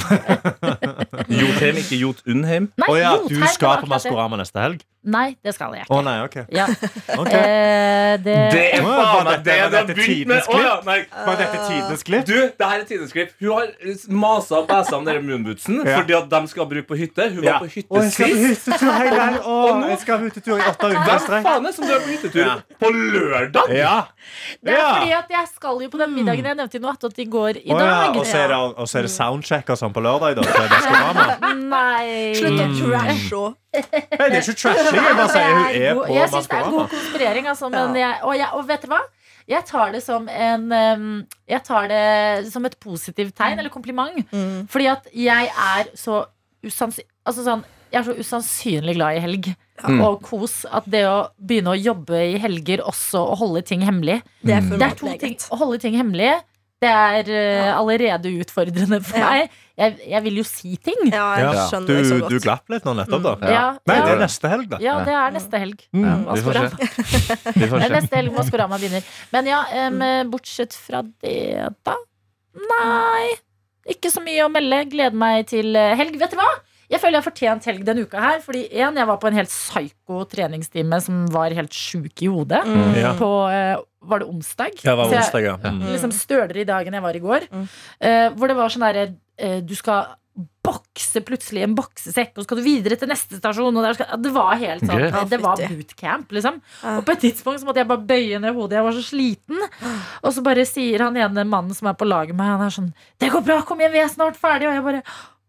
Speaker 4: Jotheim, ikke Jotunheim.
Speaker 2: Nei,
Speaker 5: Å ja, du
Speaker 2: Jotheim var
Speaker 5: skal på
Speaker 2: akkurat det.
Speaker 5: Maskorama neste helg?
Speaker 2: Nei, det skal jeg
Speaker 5: Å
Speaker 2: ikke.
Speaker 5: nei, ok.
Speaker 2: Ja.
Speaker 5: Ok.
Speaker 2: Eh,
Speaker 4: Det
Speaker 2: det,
Speaker 4: er
Speaker 5: Å, ja,
Speaker 4: faen
Speaker 5: var
Speaker 4: meg
Speaker 5: dette-
Speaker 4: det
Speaker 5: var
Speaker 4: det har
Speaker 5: dette
Speaker 4: begynt med!
Speaker 5: tidens
Speaker 4: Å, ja, nei.
Speaker 5: Var dette tidenes klipp?
Speaker 4: Du, det her er tidens klipp. Hun har eh, masa og bæsa om dere moonbootsen
Speaker 5: Ja.
Speaker 4: fordi at dem skal bruke på hytte. Hun var
Speaker 5: Å,
Speaker 4: på
Speaker 5: jeg
Speaker 4: hytte
Speaker 5: skal på
Speaker 4: sist.
Speaker 5: hyttetur hele helgen. Å,
Speaker 4: Og nå-
Speaker 5: jeg skal på hyttetur i åtte uker i
Speaker 4: Hvem
Speaker 5: strekk.
Speaker 4: faen er det som drar på hyttetur
Speaker 5: Ja.
Speaker 4: på lørdag?
Speaker 5: Ja.
Speaker 2: det er
Speaker 5: Ja. Hmm.
Speaker 2: fordi at jeg skal jo på den middagen jeg nevnte i noe attåt i går i
Speaker 5: Å, ja.
Speaker 2: dag.
Speaker 5: Og så er det, og så er det soundcheck og sånn på lørdag. Da, til Maskorama.
Speaker 2: Nei.
Speaker 3: Slutt
Speaker 5: Mm.
Speaker 3: å trashe henne.
Speaker 5: Nei, det er ikke trashing. Jeg bare sier hun
Speaker 2: Det
Speaker 5: er
Speaker 2: god-
Speaker 5: på
Speaker 2: Jeg syns det er
Speaker 5: Maskorama.
Speaker 2: god konspirering, altså. Men
Speaker 3: Ja.
Speaker 2: jeg, og, jeg, og vet dere hva? Jeg tar det som en ehm, Jeg tar det som et positivt tegn, eller kompliment.
Speaker 3: Mm.
Speaker 2: Fordi at jeg er så usannsynlig Altså sånn jeg er så usannsynlig glad i helg
Speaker 5: Mm.
Speaker 4: Ja.
Speaker 2: og kos at det å begynne å jobbe i helger også og holde ting hemmelig
Speaker 3: Det er
Speaker 4: Mm.
Speaker 3: for
Speaker 2: Det er to ting
Speaker 3: matleget.
Speaker 2: Å holde ting hemmelig, det er eh, allerede utfordrende for
Speaker 3: Ja.
Speaker 2: meg. Jeg, jeg vil jo si ting.
Speaker 3: Ja, jeg
Speaker 5: Ja.
Speaker 3: skjønner
Speaker 5: Du,
Speaker 3: det så
Speaker 5: du
Speaker 3: godt.
Speaker 5: glapp litt nå nettopp, da.
Speaker 4: Ja.
Speaker 2: Ja,
Speaker 5: Nei, det
Speaker 2: Mm. ja,
Speaker 5: er neste helg, da.
Speaker 2: ja, det er neste helg.
Speaker 5: Mm.
Speaker 4: Vi får se. Vi får
Speaker 2: Det er
Speaker 4: se.
Speaker 2: neste helg Maskorama begynner. Men ja, em, bortsett fra det, da Nei. Ikke så mye å melde. Gleder meg til eh, helg. Vet du hva? Jeg føler jeg har fortjent helg denne uka her. Fordi en, jeg var på en helt psyko treningstime som var helt sjuk i hodet.
Speaker 3: Mm.
Speaker 5: Ja.
Speaker 2: På eh, Var det onsdag?
Speaker 5: Ja, det var
Speaker 2: Så jeg-
Speaker 5: onsdag, ja. Mm.
Speaker 2: liksom stølere i dag enn jeg var i går.
Speaker 3: Mm.
Speaker 2: Eh, hvor det var sånn derre eh, Du skal bokse plutselig en boksesekk, og så skal du videre til neste stasjon. Og der skal, det var helt sånn
Speaker 4: Gøy.
Speaker 2: eh, Det var
Speaker 3: Ja, fytti.
Speaker 2: bootcamp, liksom.
Speaker 3: Ja.
Speaker 2: Og på et tidspunkt så måtte jeg bare bøye ned hodet. Jeg var så sliten. Og så bare sier han ene mannen som er på laget med meg, han er sånn 'Det går bra, kom igjen, vi er snart ferdig', og jeg bare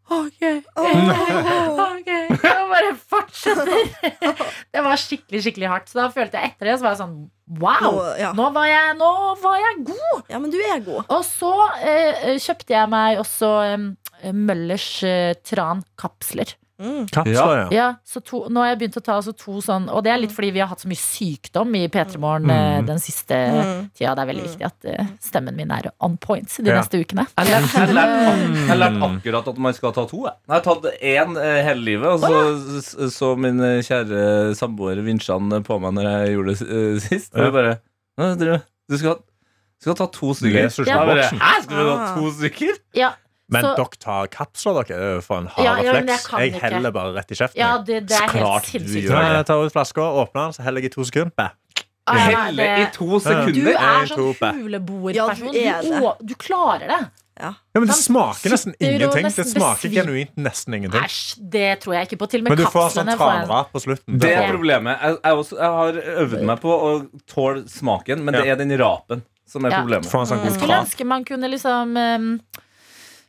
Speaker 2: Ok,
Speaker 3: Åh.
Speaker 2: ok Jeg bare fortsetter. Det var skikkelig skikkelig hardt. Så da følte jeg etter det, så var jeg sånn Wow!
Speaker 3: Nå- ja.
Speaker 2: Nå var jeg, nå var jeg god!
Speaker 3: ja, men du er god.
Speaker 2: Og så eh, kjøpte jeg meg også eh, Møllers eh, trankapsler.
Speaker 3: Mm.
Speaker 5: Kapsler, ja.
Speaker 2: Ja, så to, nå har jeg begynt å ta altså, to sånn, og det er litt fordi vi har hatt så mye sykdom i P3 Morgen eh,
Speaker 5: Mm.
Speaker 2: den siste
Speaker 3: Mm.
Speaker 2: tida. Det er veldig viktig at eh, stemmen min er on point de
Speaker 5: Ja.
Speaker 2: neste ukene.
Speaker 4: Jeg lærte jeg lærte ak- jeg lærte akkurat at man skal ta to. Jeg, jeg har tatt én eh, hele livet, og så så- så min eh, kjære samboer vinsja den på meg når jeg gjorde det eh, sist. Og
Speaker 5: Ja.
Speaker 4: jeg bare «Nå, Du, du skal, du skal ta to stykker.
Speaker 5: Leser
Speaker 2: Ja.
Speaker 5: ikke
Speaker 4: Jeg bare,
Speaker 5: boksen.
Speaker 4: Hæ, skal du ta
Speaker 3: Ah.
Speaker 4: to stykker?
Speaker 2: Ja,
Speaker 5: Men
Speaker 2: Så-
Speaker 5: dere tar kapsler, dere. Det er jo for en hard
Speaker 2: Ja, ja, men jeg
Speaker 5: refleks.
Speaker 2: kan
Speaker 5: Jeg,
Speaker 2: ikke.
Speaker 5: heller bare rett i kjeften.
Speaker 2: Ja,
Speaker 5: jeg.
Speaker 2: det, det er
Speaker 4: Så
Speaker 2: helt
Speaker 4: klart du
Speaker 2: sinnssykt.
Speaker 4: gjør det.
Speaker 5: jeg tar ut flaska, åpner den, så heller jeg i to sekunder. Bæ.
Speaker 2: Ah, nei,
Speaker 4: Helle i
Speaker 2: det-
Speaker 4: to
Speaker 2: Du
Speaker 4: sekunder.
Speaker 2: er
Speaker 5: Jeg
Speaker 2: sånn
Speaker 5: tror på.
Speaker 2: huleboerperson.
Speaker 3: Ja, du
Speaker 2: du,
Speaker 3: er
Speaker 2: å- du klarer det.
Speaker 5: Ja, men det
Speaker 2: Han
Speaker 5: smaker nesten
Speaker 2: sitter og
Speaker 5: ingenting.
Speaker 2: nesten
Speaker 5: Det smaker
Speaker 2: besvir-
Speaker 5: genuint nesten ingenting.
Speaker 2: Æsj, det tror jeg ikke på. Til og med
Speaker 5: Men du får sånn
Speaker 2: kapslene får jeg-
Speaker 5: tranrap på slutten.
Speaker 4: Det
Speaker 5: Det
Speaker 4: er
Speaker 5: får du.
Speaker 4: problemet. Jeg, jeg, også, jeg har øvd meg på å tåle smaken, men det
Speaker 5: Ja.
Speaker 4: er den rapen som er
Speaker 2: Ja.
Speaker 5: Du
Speaker 4: problemet.
Speaker 5: får en
Speaker 2: Mm.
Speaker 5: sånn
Speaker 2: Jeg
Speaker 5: god
Speaker 2: skulle
Speaker 5: kran.
Speaker 2: ønske man kunne liksom ehm,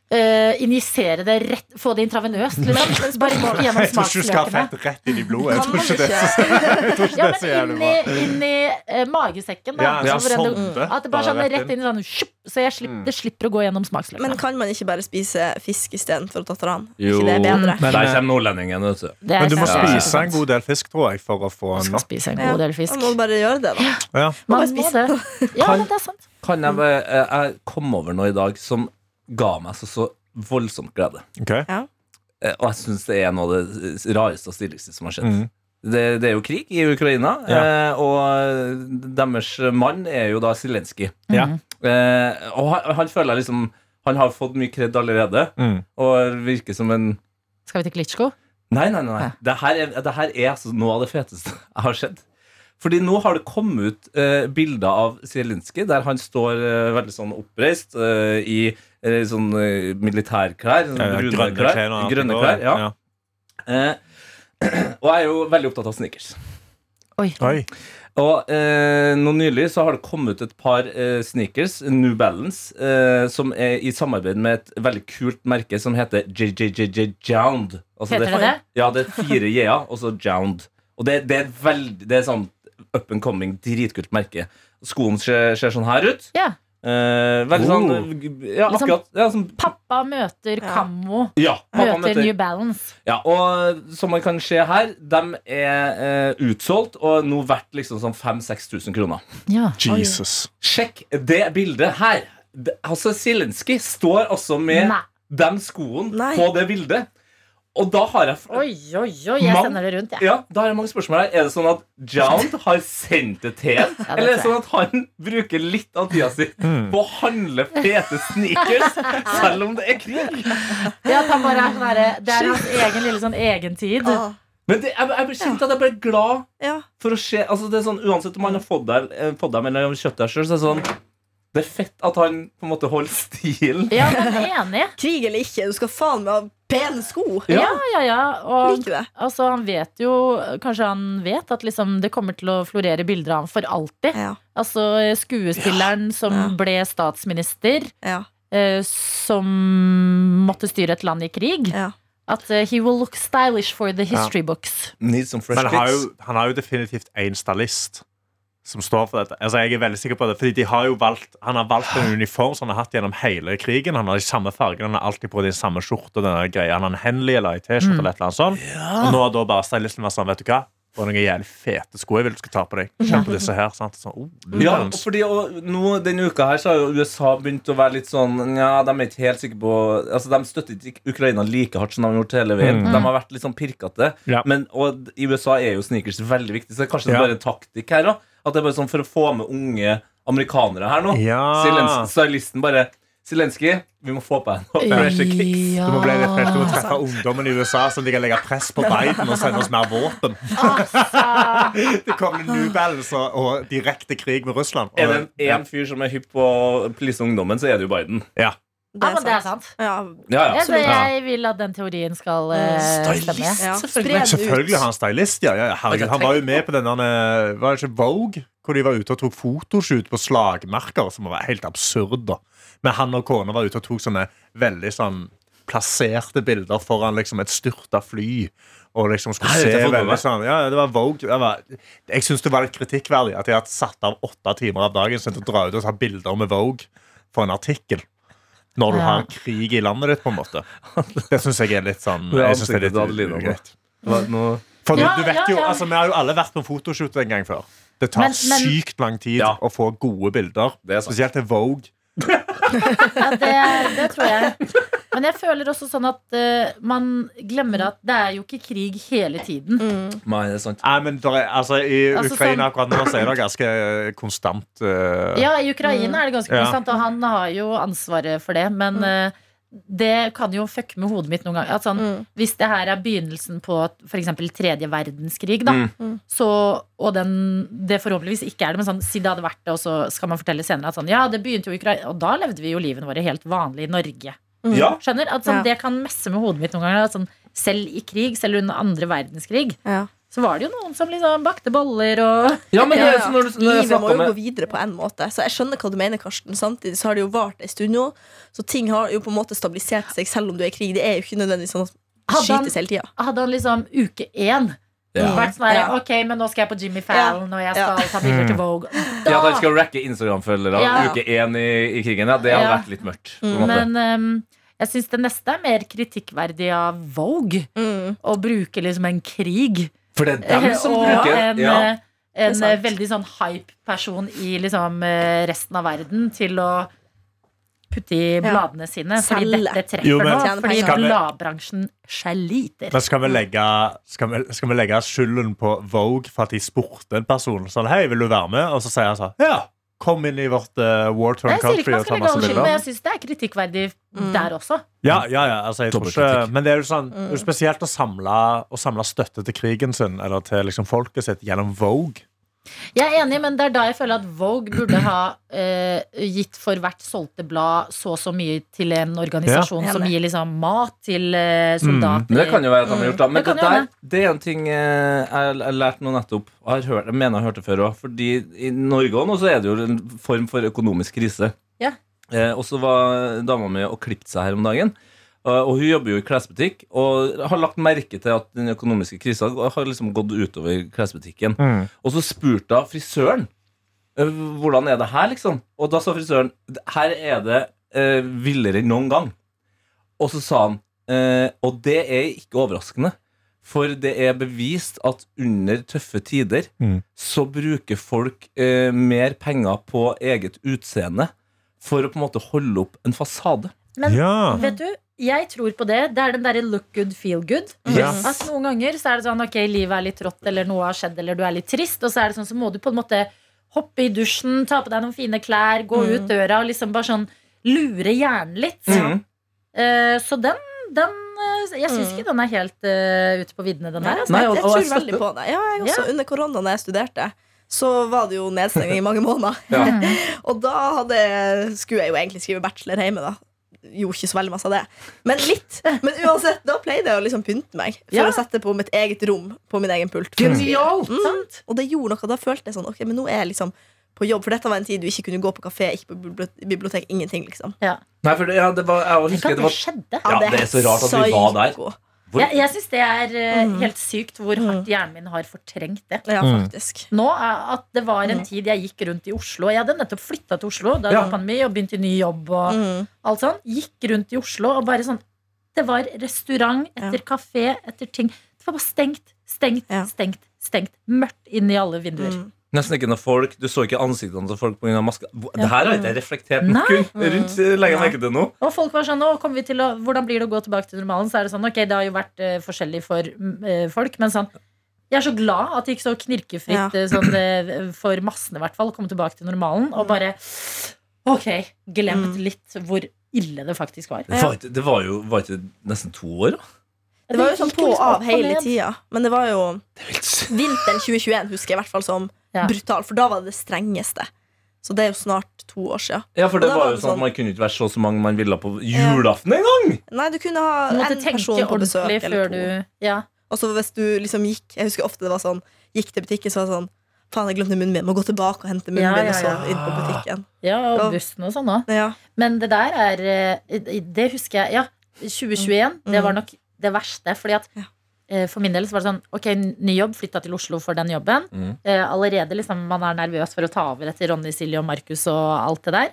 Speaker 2: eh, injisere det rett Få det intravenøst, liksom. Bare gå gjennom
Speaker 5: Jeg tror ikke du skal ha
Speaker 2: smaksløkene.
Speaker 5: fett rett inn i blodet. Jeg
Speaker 3: Kan
Speaker 5: tror ikke
Speaker 3: man
Speaker 5: det er så, jeg tror ikke
Speaker 2: Ja,
Speaker 5: det er så
Speaker 2: men inni,
Speaker 5: jævlig bra.
Speaker 2: inni eh, magesekken, da.
Speaker 5: Ja, ja,
Speaker 2: Så hvordan
Speaker 5: sånn
Speaker 2: det,
Speaker 5: det.
Speaker 2: at det bare sånn
Speaker 5: Bare rett Mm.
Speaker 2: rett inn sånn, shup, Så jeg slipper, det slipper å gå gjennom smaksløkene.
Speaker 3: Men kan man ikke bare spise fisk istedenfor tatran? Er
Speaker 4: Jo.
Speaker 3: ikke det bedre?
Speaker 5: Men,
Speaker 4: Der
Speaker 5: eh,
Speaker 4: kommer nordlendingen. vet du.
Speaker 2: Det er
Speaker 5: Men du må
Speaker 2: sant.
Speaker 5: spise en god del fisk, tror jeg, for å få
Speaker 2: Man
Speaker 5: en
Speaker 2: skal
Speaker 5: napp.
Speaker 2: spise en
Speaker 3: Ja.
Speaker 2: god del
Speaker 3: Man
Speaker 2: fisk.
Speaker 3: må bare gjøre det, da.
Speaker 5: Ja.
Speaker 2: Man
Speaker 3: bare
Speaker 2: må
Speaker 3: spise
Speaker 2: det. Ja,
Speaker 4: Kan-
Speaker 2: men det er sant.
Speaker 4: Kan jeg, bare- jeg, jeg kom over noe i dag som ga meg så, så voldsomt glede.
Speaker 5: ok.
Speaker 4: Eh, Og jeg syns det er noe av det rareste og stiligste som har skjedd.
Speaker 5: Mm.
Speaker 4: Det, det er jo krig i Ukraina, eh, og eh, deres mann er jo da Zelenskyj.
Speaker 5: Ja.
Speaker 4: Eh, og han, han føler jeg liksom Han har fått mye kred allerede,
Speaker 5: Mm.
Speaker 4: og virker som en
Speaker 2: Skal vi til Klitsjko?
Speaker 4: Nei, nei, nei. nei.
Speaker 2: Ja.
Speaker 4: Det, her er, det her er altså noe av det feteste jeg har sett. Fordi nå har det kommet ut eh, bilder av Zelenskyj der han står eh, veldig sånn oppreist eh, i eh, sånn eh, militærklær. Sånn
Speaker 5: Ja, ja,
Speaker 4: brune
Speaker 5: Eh, grønne
Speaker 4: klær.
Speaker 5: klær og alt det
Speaker 4: grønne
Speaker 5: går.
Speaker 4: klær ja. Eh, og jeg er jo veldig opptatt av sneakers.
Speaker 2: Oi.
Speaker 5: Oi.
Speaker 4: Og eh, nå nylig så har det kommet ut et par eh, sneakers, New Balance, eh, som er i samarbeid med et veldig kult merke som heter JJJJ Jound. Altså,
Speaker 2: Heter det det?
Speaker 4: Ja, det er fire J-er, og så Jound. Og det, det er veldig Det er sånn up and coming, dritkult merke. Skoen ser, ser sånn her ut.
Speaker 2: Ja.
Speaker 4: Eh, veldig sånn Ja,
Speaker 2: Litt sånn
Speaker 4: akkurat. Ja, sånn,
Speaker 2: Pappa møter
Speaker 3: Ja.
Speaker 2: Kammo.
Speaker 4: ja, pappa
Speaker 2: Møter New Balance.
Speaker 4: ja, og eh, som man kan se her, de er eh, utsolgt og nå verdt liksom sånn 5000-6000 kroner.
Speaker 2: Ja.
Speaker 5: Jesus.
Speaker 4: Sjekk det bildet her. Det- Altså, Zelenskyj står også med
Speaker 2: Nei.
Speaker 4: den skoen
Speaker 3: Nei.
Speaker 4: på det bildet. Og da har jeg
Speaker 2: Oi, oi, oi. Jeg
Speaker 4: Mann.
Speaker 2: sender det rundt, jeg.
Speaker 4: ja, da har jeg mange spørsmål her. Er det sånn at Jound har sendt det til
Speaker 2: Ja,
Speaker 4: en?
Speaker 2: det
Speaker 4: Eller er det
Speaker 2: tror
Speaker 4: sånn at han bruker litt av tida si
Speaker 5: Mm.
Speaker 4: på å handle fete sneakers selv om det er krig?
Speaker 2: Ja, at han bare er sånn derre- Det er hans egen lille sånn egentid.
Speaker 3: Ah,
Speaker 4: Men det, jeg, jeg kjente at jeg ble glad
Speaker 3: ja.
Speaker 4: For å se, altså det er sånn, Uansett om han har fått dem eh, fått dem eller kjøpt dem sjøl, så er det sånn Det er fett at han på en måte holder stilen.
Speaker 2: Ja, men enig.
Speaker 3: Krig eller ikke, du skal faen meg ha pene sko!
Speaker 4: Ja.
Speaker 2: Ja, ja, ja. Og
Speaker 3: Liker det.
Speaker 2: altså, han vet jo Kanskje han vet at liksom, det kommer til å florere bilder av ham for alltid.
Speaker 3: Ja,
Speaker 2: Altså skuespilleren som
Speaker 3: Ja.
Speaker 2: ble statsminister,
Speaker 3: ja,
Speaker 2: eh, som måtte styre et land i krig.
Speaker 3: ja.
Speaker 2: At eh, he will look stylish for the history books.
Speaker 4: Need some fresh
Speaker 5: Men han har, jo, han har jo definitivt én stylist som står for dette. Altså, jeg er veldig sikker på det Fordi de har jo valgt Han har valgt en uniform som han har hatt gjennom hele krigen. Han har de samme fargene, han har alltid på de samme skjorte og denne greia. Han har en Henley eller en T-skjorte
Speaker 4: Mm.
Speaker 5: eller et eller annet sånt. Og nå har da bare stylisten vært sånn, vet du hva? Og noen jævlig fete sko jeg vil du skal ta på deg. Kjenn på disse her. Sant? Sånn, oh,
Speaker 4: Ja, og
Speaker 5: Lutherans.
Speaker 4: fordi og nå, Denne uka her så har jo USA begynt å være litt sånn Ja, de er ikke helt sikre på Altså, De støtter ikke Ukraina like hardt som de har gjort hele veien. De har vært litt sånn
Speaker 5: Mm.
Speaker 4: pirkete.
Speaker 5: Ja.
Speaker 4: Men og i USA er jo sneakers veldig viktig, så det er kanskje
Speaker 5: Ja.
Speaker 4: bare en taktikk her òg. At det er bare sånn for å få med unge amerikanere her nå.
Speaker 5: Ja.
Speaker 4: Zelens- Stylisten bare Zelenskyj, vi må få på deg noe fresh kicks.
Speaker 5: Du må bli litt fett. Du må treffe ungdommen i USA som de kan legge press på Biden og sende oss mer våpen. Det kommer New Balance og- og direkte krig med Russland. Og-
Speaker 4: Er det en fyr som er hypp på å please ungdommen, så er det jo Biden.
Speaker 5: Ja.
Speaker 2: Ja, men det er sant.
Speaker 3: Ja,
Speaker 4: Ja,
Speaker 2: Ja,
Speaker 4: ja.
Speaker 2: så
Speaker 3: Absolutt. Mm,
Speaker 2: jeg vil at den teorien skal eh, stemme.
Speaker 3: ja. Spre
Speaker 5: Men
Speaker 3: den
Speaker 5: selvfølgelig har
Speaker 3: ut.
Speaker 5: han stylist. Ja, ja, ja. Herregud, han var jo med på den der eh, Var det ikke Vogue? Hvor de var ute og tok fotoshoot på slagmerker, som var helt absurd. da Men han og kona var ute og tok sånne veldig sånn plasserte bilder foran liksom et styrta fly. Og liksom skulle
Speaker 4: Nei,
Speaker 5: se
Speaker 4: dette får du
Speaker 5: veldig
Speaker 4: med.
Speaker 5: sånn Ja, det var Vogue. Jeg, var, jeg syns det var litt kritikkverdig at de hadde satt av åtte timer av dagen sin til å dra ut og ta bilder med Vogue for en artikkel. Når du
Speaker 2: Ja.
Speaker 5: har krig i landet ditt, på en måte. Det syns jeg er litt sånn
Speaker 4: Det er
Speaker 5: Jeg synes det er
Speaker 4: ansiktet til
Speaker 5: litt
Speaker 4: Adelina nå.
Speaker 5: ugreit.
Speaker 4: Hva- nå-
Speaker 5: For du,
Speaker 2: Ja,
Speaker 5: du vet
Speaker 2: ja,
Speaker 5: jo,
Speaker 2: ja.
Speaker 5: altså Vi har jo alle vært på en fotoshoot en gang før. Det tar
Speaker 2: Men- men-
Speaker 5: sykt lang tid
Speaker 4: Ja.
Speaker 5: å få gode bilder.
Speaker 4: Det er sant.
Speaker 5: Spesielt til Vogue.
Speaker 2: Ja, det, det tror jeg. Men jeg føler også sånn at eh, man glemmer at det er jo ikke krig hele tiden.
Speaker 4: Nei, det er sant.
Speaker 5: Nei, men der er, altså, I
Speaker 2: Altså,
Speaker 5: Ukraina
Speaker 2: sånn-
Speaker 5: akkurat nå så er det ganske eh, konstant eh,
Speaker 2: Ja, i Ukraina er det ganske
Speaker 5: Ja.
Speaker 2: konstant, og han har jo ansvaret for det, men eh, det kan jo fucke med hodet mitt noen ganger. At sånn, Hvis det her er begynnelsen på f.eks. tredje verdenskrig, da,
Speaker 4: Mm.
Speaker 3: Mm.
Speaker 2: så, og den, det forhåpentligvis ikke er det, men sånn, si det hadde vært det, og så skal man fortelle senere at sånn, ja, det begynte jo i Ukraina, og da levde vi jo livene våre helt vanlig i Norge.
Speaker 3: Mm.
Speaker 4: Ja.
Speaker 2: Skjønner? At sånn,
Speaker 3: Ja.
Speaker 2: Det kan messe med hodet mitt noen ganger. At sånn, selv i krig, selv under andre verdenskrig,
Speaker 3: Ja.
Speaker 2: så var det jo noen som liksom bakte boller og
Speaker 4: Ja, men det
Speaker 3: Ja,
Speaker 4: er
Speaker 3: ja.
Speaker 4: sånn når du, når jeg
Speaker 3: Livet må jo
Speaker 4: snakker
Speaker 3: gå
Speaker 4: med
Speaker 3: videre på en måte. Så jeg skjønner hva du mener, Karsten. Samtidig så har det jo vart en stund nå, så ting har jo på en måte stabilisert seg, selv om du er i krig. Det er jo ikke nødvendigvis sånn at
Speaker 2: Hadde han-
Speaker 3: skytes hele tida.
Speaker 2: Hadde han liksom uke én
Speaker 4: Ja.
Speaker 2: vært sånn her,
Speaker 3: Ja.
Speaker 2: Ok, men nå skal jeg på Jimmy Fallon, og jeg skal ta bilder til Vogue. Da,
Speaker 4: Ja, da skal du racke Instagram-følgere
Speaker 2: Ja.
Speaker 4: uke én i, i krigen. Ja, det hadde
Speaker 2: Ja.
Speaker 4: vært litt mørkt. På en måte.
Speaker 2: Men ehm, jeg syns det neste er mer kritikkverdig av Vogue.
Speaker 4: Mm.
Speaker 2: Å bruke liksom en krig
Speaker 4: For det er dem som
Speaker 2: og en,
Speaker 4: bruker ja.
Speaker 2: eh, en
Speaker 3: Det er sant.
Speaker 2: veldig sånn hype-person i liksom eh, resten av verden til å putte i bladene sine. Fordi
Speaker 3: Selge.
Speaker 2: dette treffer
Speaker 5: Jo, men-
Speaker 2: nå. Fordi
Speaker 3: Skal
Speaker 5: vi-
Speaker 2: bladbransjen sliter.
Speaker 5: Men skal vi legge, skal vi, skal vi legge skylden på Vogue for at de spurte en person sånn Hei, vil du være med? Og så sier han sånn Ja! Kom inn i vårt eh, war
Speaker 2: Jeg
Speaker 5: torn
Speaker 2: sier ikke
Speaker 5: country
Speaker 2: man
Speaker 5: og ta
Speaker 2: skal legge
Speaker 5: masse
Speaker 2: all skyld, men
Speaker 5: bilder.
Speaker 2: jeg syns det er kritikkverdig
Speaker 3: Mm.
Speaker 2: der også.
Speaker 5: Ja, ja, ja, altså jeg tror
Speaker 4: Dobbeltkritikk.
Speaker 5: ikke Men det er jo sånn, det er
Speaker 2: Mm.
Speaker 5: jo spesielt å samle, å samle støtte til krigen sin, eller til liksom folket sitt, gjennom Vogue.
Speaker 2: Jeg er enig, men det er da jeg føler at Vogue burde ha eh, gitt for hvert solgte blad så og så mye til en organisasjon
Speaker 3: Ja.
Speaker 2: som gir liksom mat til eh, soldater.
Speaker 4: Men det kan jo være at de har gjort det. Men
Speaker 2: Det
Speaker 4: det,
Speaker 2: kan jo
Speaker 4: der,
Speaker 2: hende.
Speaker 4: det er en ting eh, jeg jeg lærte nå nettopp. og Jeg, har hørt, jeg mener jeg har hørt det før òg. Fordi i Norge også nå så er det jo en form for økonomisk krise.
Speaker 2: Ja.
Speaker 4: Eh, og så var dama mi og klippet seg her om dagen. Eh, Og hun jobber jo i klesbutikk og har lagt merke til at den økonomiske krisa har liksom gått utover klesbutikken.
Speaker 5: Mm.
Speaker 4: Og så spurte hun frisøren eh, hvordan er det her, liksom. Og da sa frisøren her er det eh, villere enn noen gang. Og så sa han eh, og det er ikke overraskende, for det er bevist at under tøffe tider
Speaker 5: Mm.
Speaker 4: så bruker folk eh, mer penger på eget utseende for å på en måte holde opp en fasade.
Speaker 2: Men-
Speaker 5: Ja.
Speaker 2: Vet du, jeg tror på det. Det er den derre look good, feel good.
Speaker 5: Ja.
Speaker 2: At noen ganger så er det sånn ok, livet er litt rått, eller noe har skjedd, eller du er litt trist, og så er det sånn så må du på en måte hoppe i dusjen, ta på deg noen fine klær, gå
Speaker 3: Mm.
Speaker 2: ut døra og liksom bare sånn lure hjernen litt.
Speaker 4: Mhm.
Speaker 2: Eh, så den, den eh, Jeg syns
Speaker 3: Mm.
Speaker 2: ikke den er helt eh, ute på viddene, den her.
Speaker 3: Nei,
Speaker 2: Altså.
Speaker 3: altså,
Speaker 4: Nei,
Speaker 3: jeg, jeg
Speaker 4: og- og jeg
Speaker 3: tror veldig på det. Ja, jeg også, Under korona, da jeg studerte, så var det jo nedstengning i mange måneder.
Speaker 4: Ja.
Speaker 3: Og da hadde, skulle jeg jo egentlig skrive bachelor hjemme, da. Gjorde ikke så veldig masse av det. Men litt. Men uansett, da pleide jeg å liksom pynte meg for
Speaker 2: Ja.
Speaker 3: å sette på mitt eget rom på min egen pult.
Speaker 4: Genialt!
Speaker 3: Mm.
Speaker 2: Sånn.
Speaker 3: Og det gjorde noe. Da følte jeg sånn Ok, men nå er jeg liksom på jobb. For dette var en tid du ikke kunne gå på kafé, ikke på bibli- bibliotek, ingenting, liksom.
Speaker 4: Nei, for det, ja, det var, jeg
Speaker 2: Tenk
Speaker 4: husker
Speaker 2: at
Speaker 4: det
Speaker 2: det
Speaker 4: var
Speaker 2: skjedde.
Speaker 4: Ja, det er så rart at vi var der.
Speaker 3: psyko.
Speaker 4: Hvor,
Speaker 2: Jeg, jeg syns det er eh,
Speaker 3: Mm.
Speaker 2: helt sykt hvor hardt hjernen min har fortrengt det.
Speaker 3: Ja,
Speaker 5: Mm.
Speaker 3: faktisk.
Speaker 2: Nå er at Det var
Speaker 3: Mm.
Speaker 2: en tid jeg gikk rundt i Oslo. og Jeg hadde nettopp flytta til Oslo da det
Speaker 4: Ja.
Speaker 2: var pandemi og begynte i ny jobb. og
Speaker 3: Mm.
Speaker 2: alt sånn Gikk rundt i Oslo og bare sånn Det var restaurant etter kafé etter ting. Det var bare stengt, stengt,
Speaker 3: Ja.
Speaker 2: stengt, stengt. Mørkt inn i alle vinduer.
Speaker 3: Mm.
Speaker 4: Nesten ikke noe folk. Du så ikke ansiktene til folk pga. maska. Hvor- Det her har ikke jeg reflektert
Speaker 2: Nei.
Speaker 4: nok rundt. eh, Legger jeg
Speaker 3: Nei.
Speaker 4: merke til nå.
Speaker 2: Og folk var sånn, «Å, kommer vi til å, hvordan blir det å gå tilbake til normalen? Så er det sånn, ok, det har jo vært eh, forskjellig for mm, eh, folk, men sånn, jeg er så glad at det gikk så knirkefritt
Speaker 3: Ja.
Speaker 2: eh, sånn, eh, for massene i hvert fall, å komme tilbake til normalen,
Speaker 3: Mm.
Speaker 2: og bare, ok, glemt litt hvor ille det faktisk var.
Speaker 4: Det var, ikke- det var jo var ikke nesten to år, da.
Speaker 3: Det var jo sånn
Speaker 2: gikk
Speaker 3: på og
Speaker 2: liksom opp
Speaker 3: av hele
Speaker 2: ned.
Speaker 3: tida. Men det var jo
Speaker 4: Helt sykt.
Speaker 3: vinteren 2021 husker jeg i hvert fall som
Speaker 2: Ja.
Speaker 3: brutal, for da var det det strengeste. Så det er jo snart to år sia.
Speaker 4: Ja, for
Speaker 3: Og
Speaker 4: det
Speaker 3: da
Speaker 4: var
Speaker 3: var
Speaker 4: jo
Speaker 3: det
Speaker 4: sånn at
Speaker 3: sånn-
Speaker 4: man kunne ikke være så så mange man ville på julaften engang!
Speaker 3: Nei, du kunne ha
Speaker 2: Du måtte
Speaker 3: en person
Speaker 2: tenke
Speaker 3: på besøk
Speaker 2: ordentlig
Speaker 3: eller
Speaker 2: før
Speaker 3: to.
Speaker 2: du, ja.
Speaker 3: Og så hvis du liksom gikk Jeg husker ofte det var sånn Gikk til butikken, så var det sånn Faen, jeg glemte munnen min. Må gå tilbake og hente munnen
Speaker 2: Ja,
Speaker 3: min,
Speaker 2: ja,
Speaker 3: og så
Speaker 2: ja.
Speaker 3: inn på butikken.
Speaker 2: Ja, og
Speaker 3: Ja.
Speaker 2: bussen og sånn da.
Speaker 3: Ja.
Speaker 2: Men det der er eh, Det husker jeg. Ja, 2021. Det var nok det verste. Fordi at
Speaker 3: Mm. Ja.
Speaker 2: eh, for min del så var det sånn Ok, ny jobb, flytta til Oslo for den jobben.
Speaker 4: Mm.
Speaker 2: Eh, Allerede liksom man er nervøs for å ta over etter Ronny, Silje og Markus og alt det der.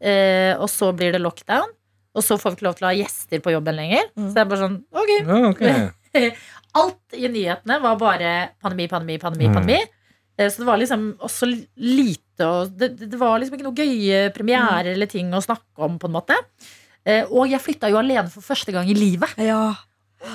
Speaker 2: Eh, Og så blir det lockdown. Og så får vi ikke lov til å ha gjester på jobben lenger.
Speaker 3: Mm.
Speaker 2: Så det er bare sånn Ok,
Speaker 4: Ja, ok.
Speaker 2: alt i nyhetene var bare pandemi, pandemi, pandemi.
Speaker 5: Mm.
Speaker 2: pandemi. Eh, Så det var liksom også lite og det, det det var liksom ikke noe gøye premierer eller ting å snakke om, på en måte. Eh, Og jeg flytta jo alene for første gang i livet.
Speaker 3: ja.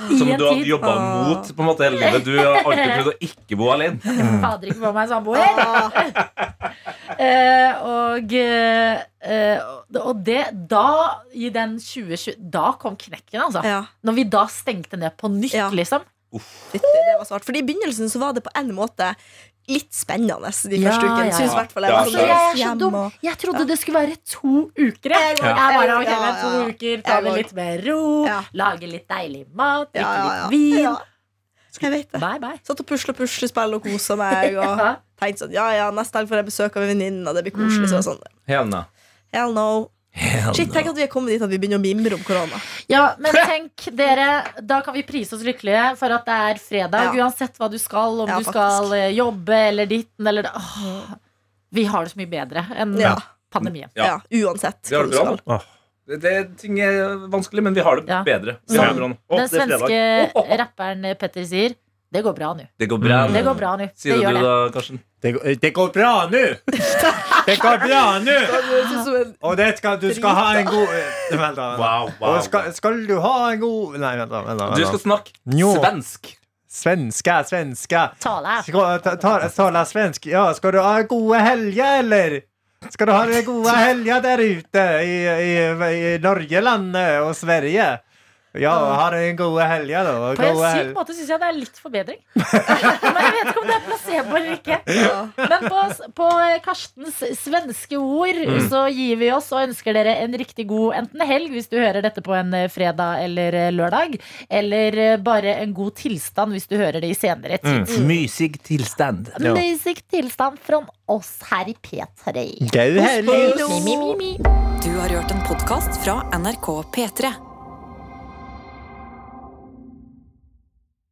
Speaker 4: Som
Speaker 2: I en
Speaker 4: du har
Speaker 2: tid.
Speaker 4: jobba
Speaker 3: Ah.
Speaker 4: mot på en måte hele livet. Du har alltid prøvd å ikke bo alene.
Speaker 2: Fader ikke på meg samboer. Eh, og eh, eh, og det, da, i den 2020 Da kom knekken, altså.
Speaker 3: Ja,
Speaker 2: Når vi da stengte ned på nytt,
Speaker 3: Ja.
Speaker 2: liksom.
Speaker 3: fytti, det var svart. Fordi i begynnelsen så var det på en måte litt spennende de
Speaker 2: Ja,
Speaker 3: første ukene.
Speaker 2: ja,
Speaker 3: Synes
Speaker 4: ja.
Speaker 3: i hvert fall jeg
Speaker 4: Ja,
Speaker 3: var
Speaker 4: Altså,
Speaker 3: sånn,
Speaker 4: jeg
Speaker 2: er så
Speaker 3: hjem
Speaker 2: dum.
Speaker 3: og-
Speaker 2: Jeg trodde det skulle være to uker. Jeg,
Speaker 3: Ja.
Speaker 2: jeg bare, ok,
Speaker 3: Ja,
Speaker 2: men to
Speaker 3: ja, ja.
Speaker 2: uker, Ta det
Speaker 3: Jeg var-
Speaker 2: litt med ro,
Speaker 3: Ja.
Speaker 2: lage litt deilig mat, drikke
Speaker 3: Ja, ja, ja.
Speaker 2: litt vin.
Speaker 3: Ja. Jeg vet det.
Speaker 2: Bye, bye.
Speaker 3: Satt og pusla puslespill og kosa meg. Og
Speaker 2: Ja.
Speaker 3: tenkte sånn, ja, ja, Neste helg får jeg besøk av en venninne, og det blir koselig. Så var det sånn,
Speaker 4: Helene.
Speaker 3: Hell no. Shit,
Speaker 4: Helene.
Speaker 3: Tenk at vi er kommet dit at vi begynner å mimre om korona.
Speaker 2: Ja, men tenk dere, da kan vi prise oss lykkelige for at det er fredag.
Speaker 3: Ja.
Speaker 2: Uansett hva du skal, om
Speaker 3: Ja,
Speaker 2: du skal
Speaker 3: faktisk.
Speaker 2: eh, jobbe eller ditten eller Åh, Vi har det så mye bedre enn
Speaker 3: Ja,
Speaker 2: pandemien.
Speaker 3: ja.
Speaker 4: Ja.
Speaker 3: Uansett.
Speaker 4: Vi har
Speaker 3: hva
Speaker 4: det
Speaker 3: du
Speaker 4: bra nå.
Speaker 3: skal.
Speaker 5: Åh.
Speaker 4: Det, det, ting er vanskelig, men vi har det
Speaker 2: Ja.
Speaker 4: bedre. Vi har det bra nå. Å,
Speaker 2: Den
Speaker 4: det er fredag.
Speaker 2: svenske
Speaker 4: Å, å, å.
Speaker 2: rapperen Petter sier det går bra nå.
Speaker 4: Det går bra.
Speaker 5: Mm.
Speaker 4: nå.
Speaker 2: Det går bra nå. Det
Speaker 4: Sier
Speaker 2: gjør
Speaker 4: du
Speaker 2: det.
Speaker 4: da, Karsten?
Speaker 5: Det, går- det går bra nå! Det går bra nå!
Speaker 3: Det synes som en-
Speaker 5: Og det skal, du skal ha en god eh, Vent, da.
Speaker 4: Wow,
Speaker 5: Og skal, skal du ha en god Nei, vent, da. Vent, da,
Speaker 4: Du
Speaker 5: vent,
Speaker 4: skal
Speaker 5: da.
Speaker 4: snakke
Speaker 5: Jo.
Speaker 4: svensk.
Speaker 5: Svenska, svenska.
Speaker 2: Tale.
Speaker 5: Skal, ta, ta, tala svensk. Ja, skal du ha gode helger, eller? Skal du ha det gode helger der ute i, i, i Norgelandet og Sverige? Ja, ha det en gode helger, da. og
Speaker 2: På en
Speaker 5: gode
Speaker 2: syk
Speaker 5: hel-
Speaker 2: måte syns jeg det er litt forbedring. Men jeg vet ikke om det er placebo eller ikke. Men på, på eh, Karstens svenske ord så gir vi oss og ønsker dere en riktig god enten helg, hvis du hører dette på en eh, fredag eller eh, lørdag, eller eh, bare en god tilstand hvis du hører det i senere tid.
Speaker 4: Mysig tilstand.
Speaker 5: Ja.
Speaker 2: Music tilstand fra oss her i P3.
Speaker 5: Gau helg.
Speaker 2: Mi, mi, mi, mi.
Speaker 1: Du har hørt en podkast fra NRK P3.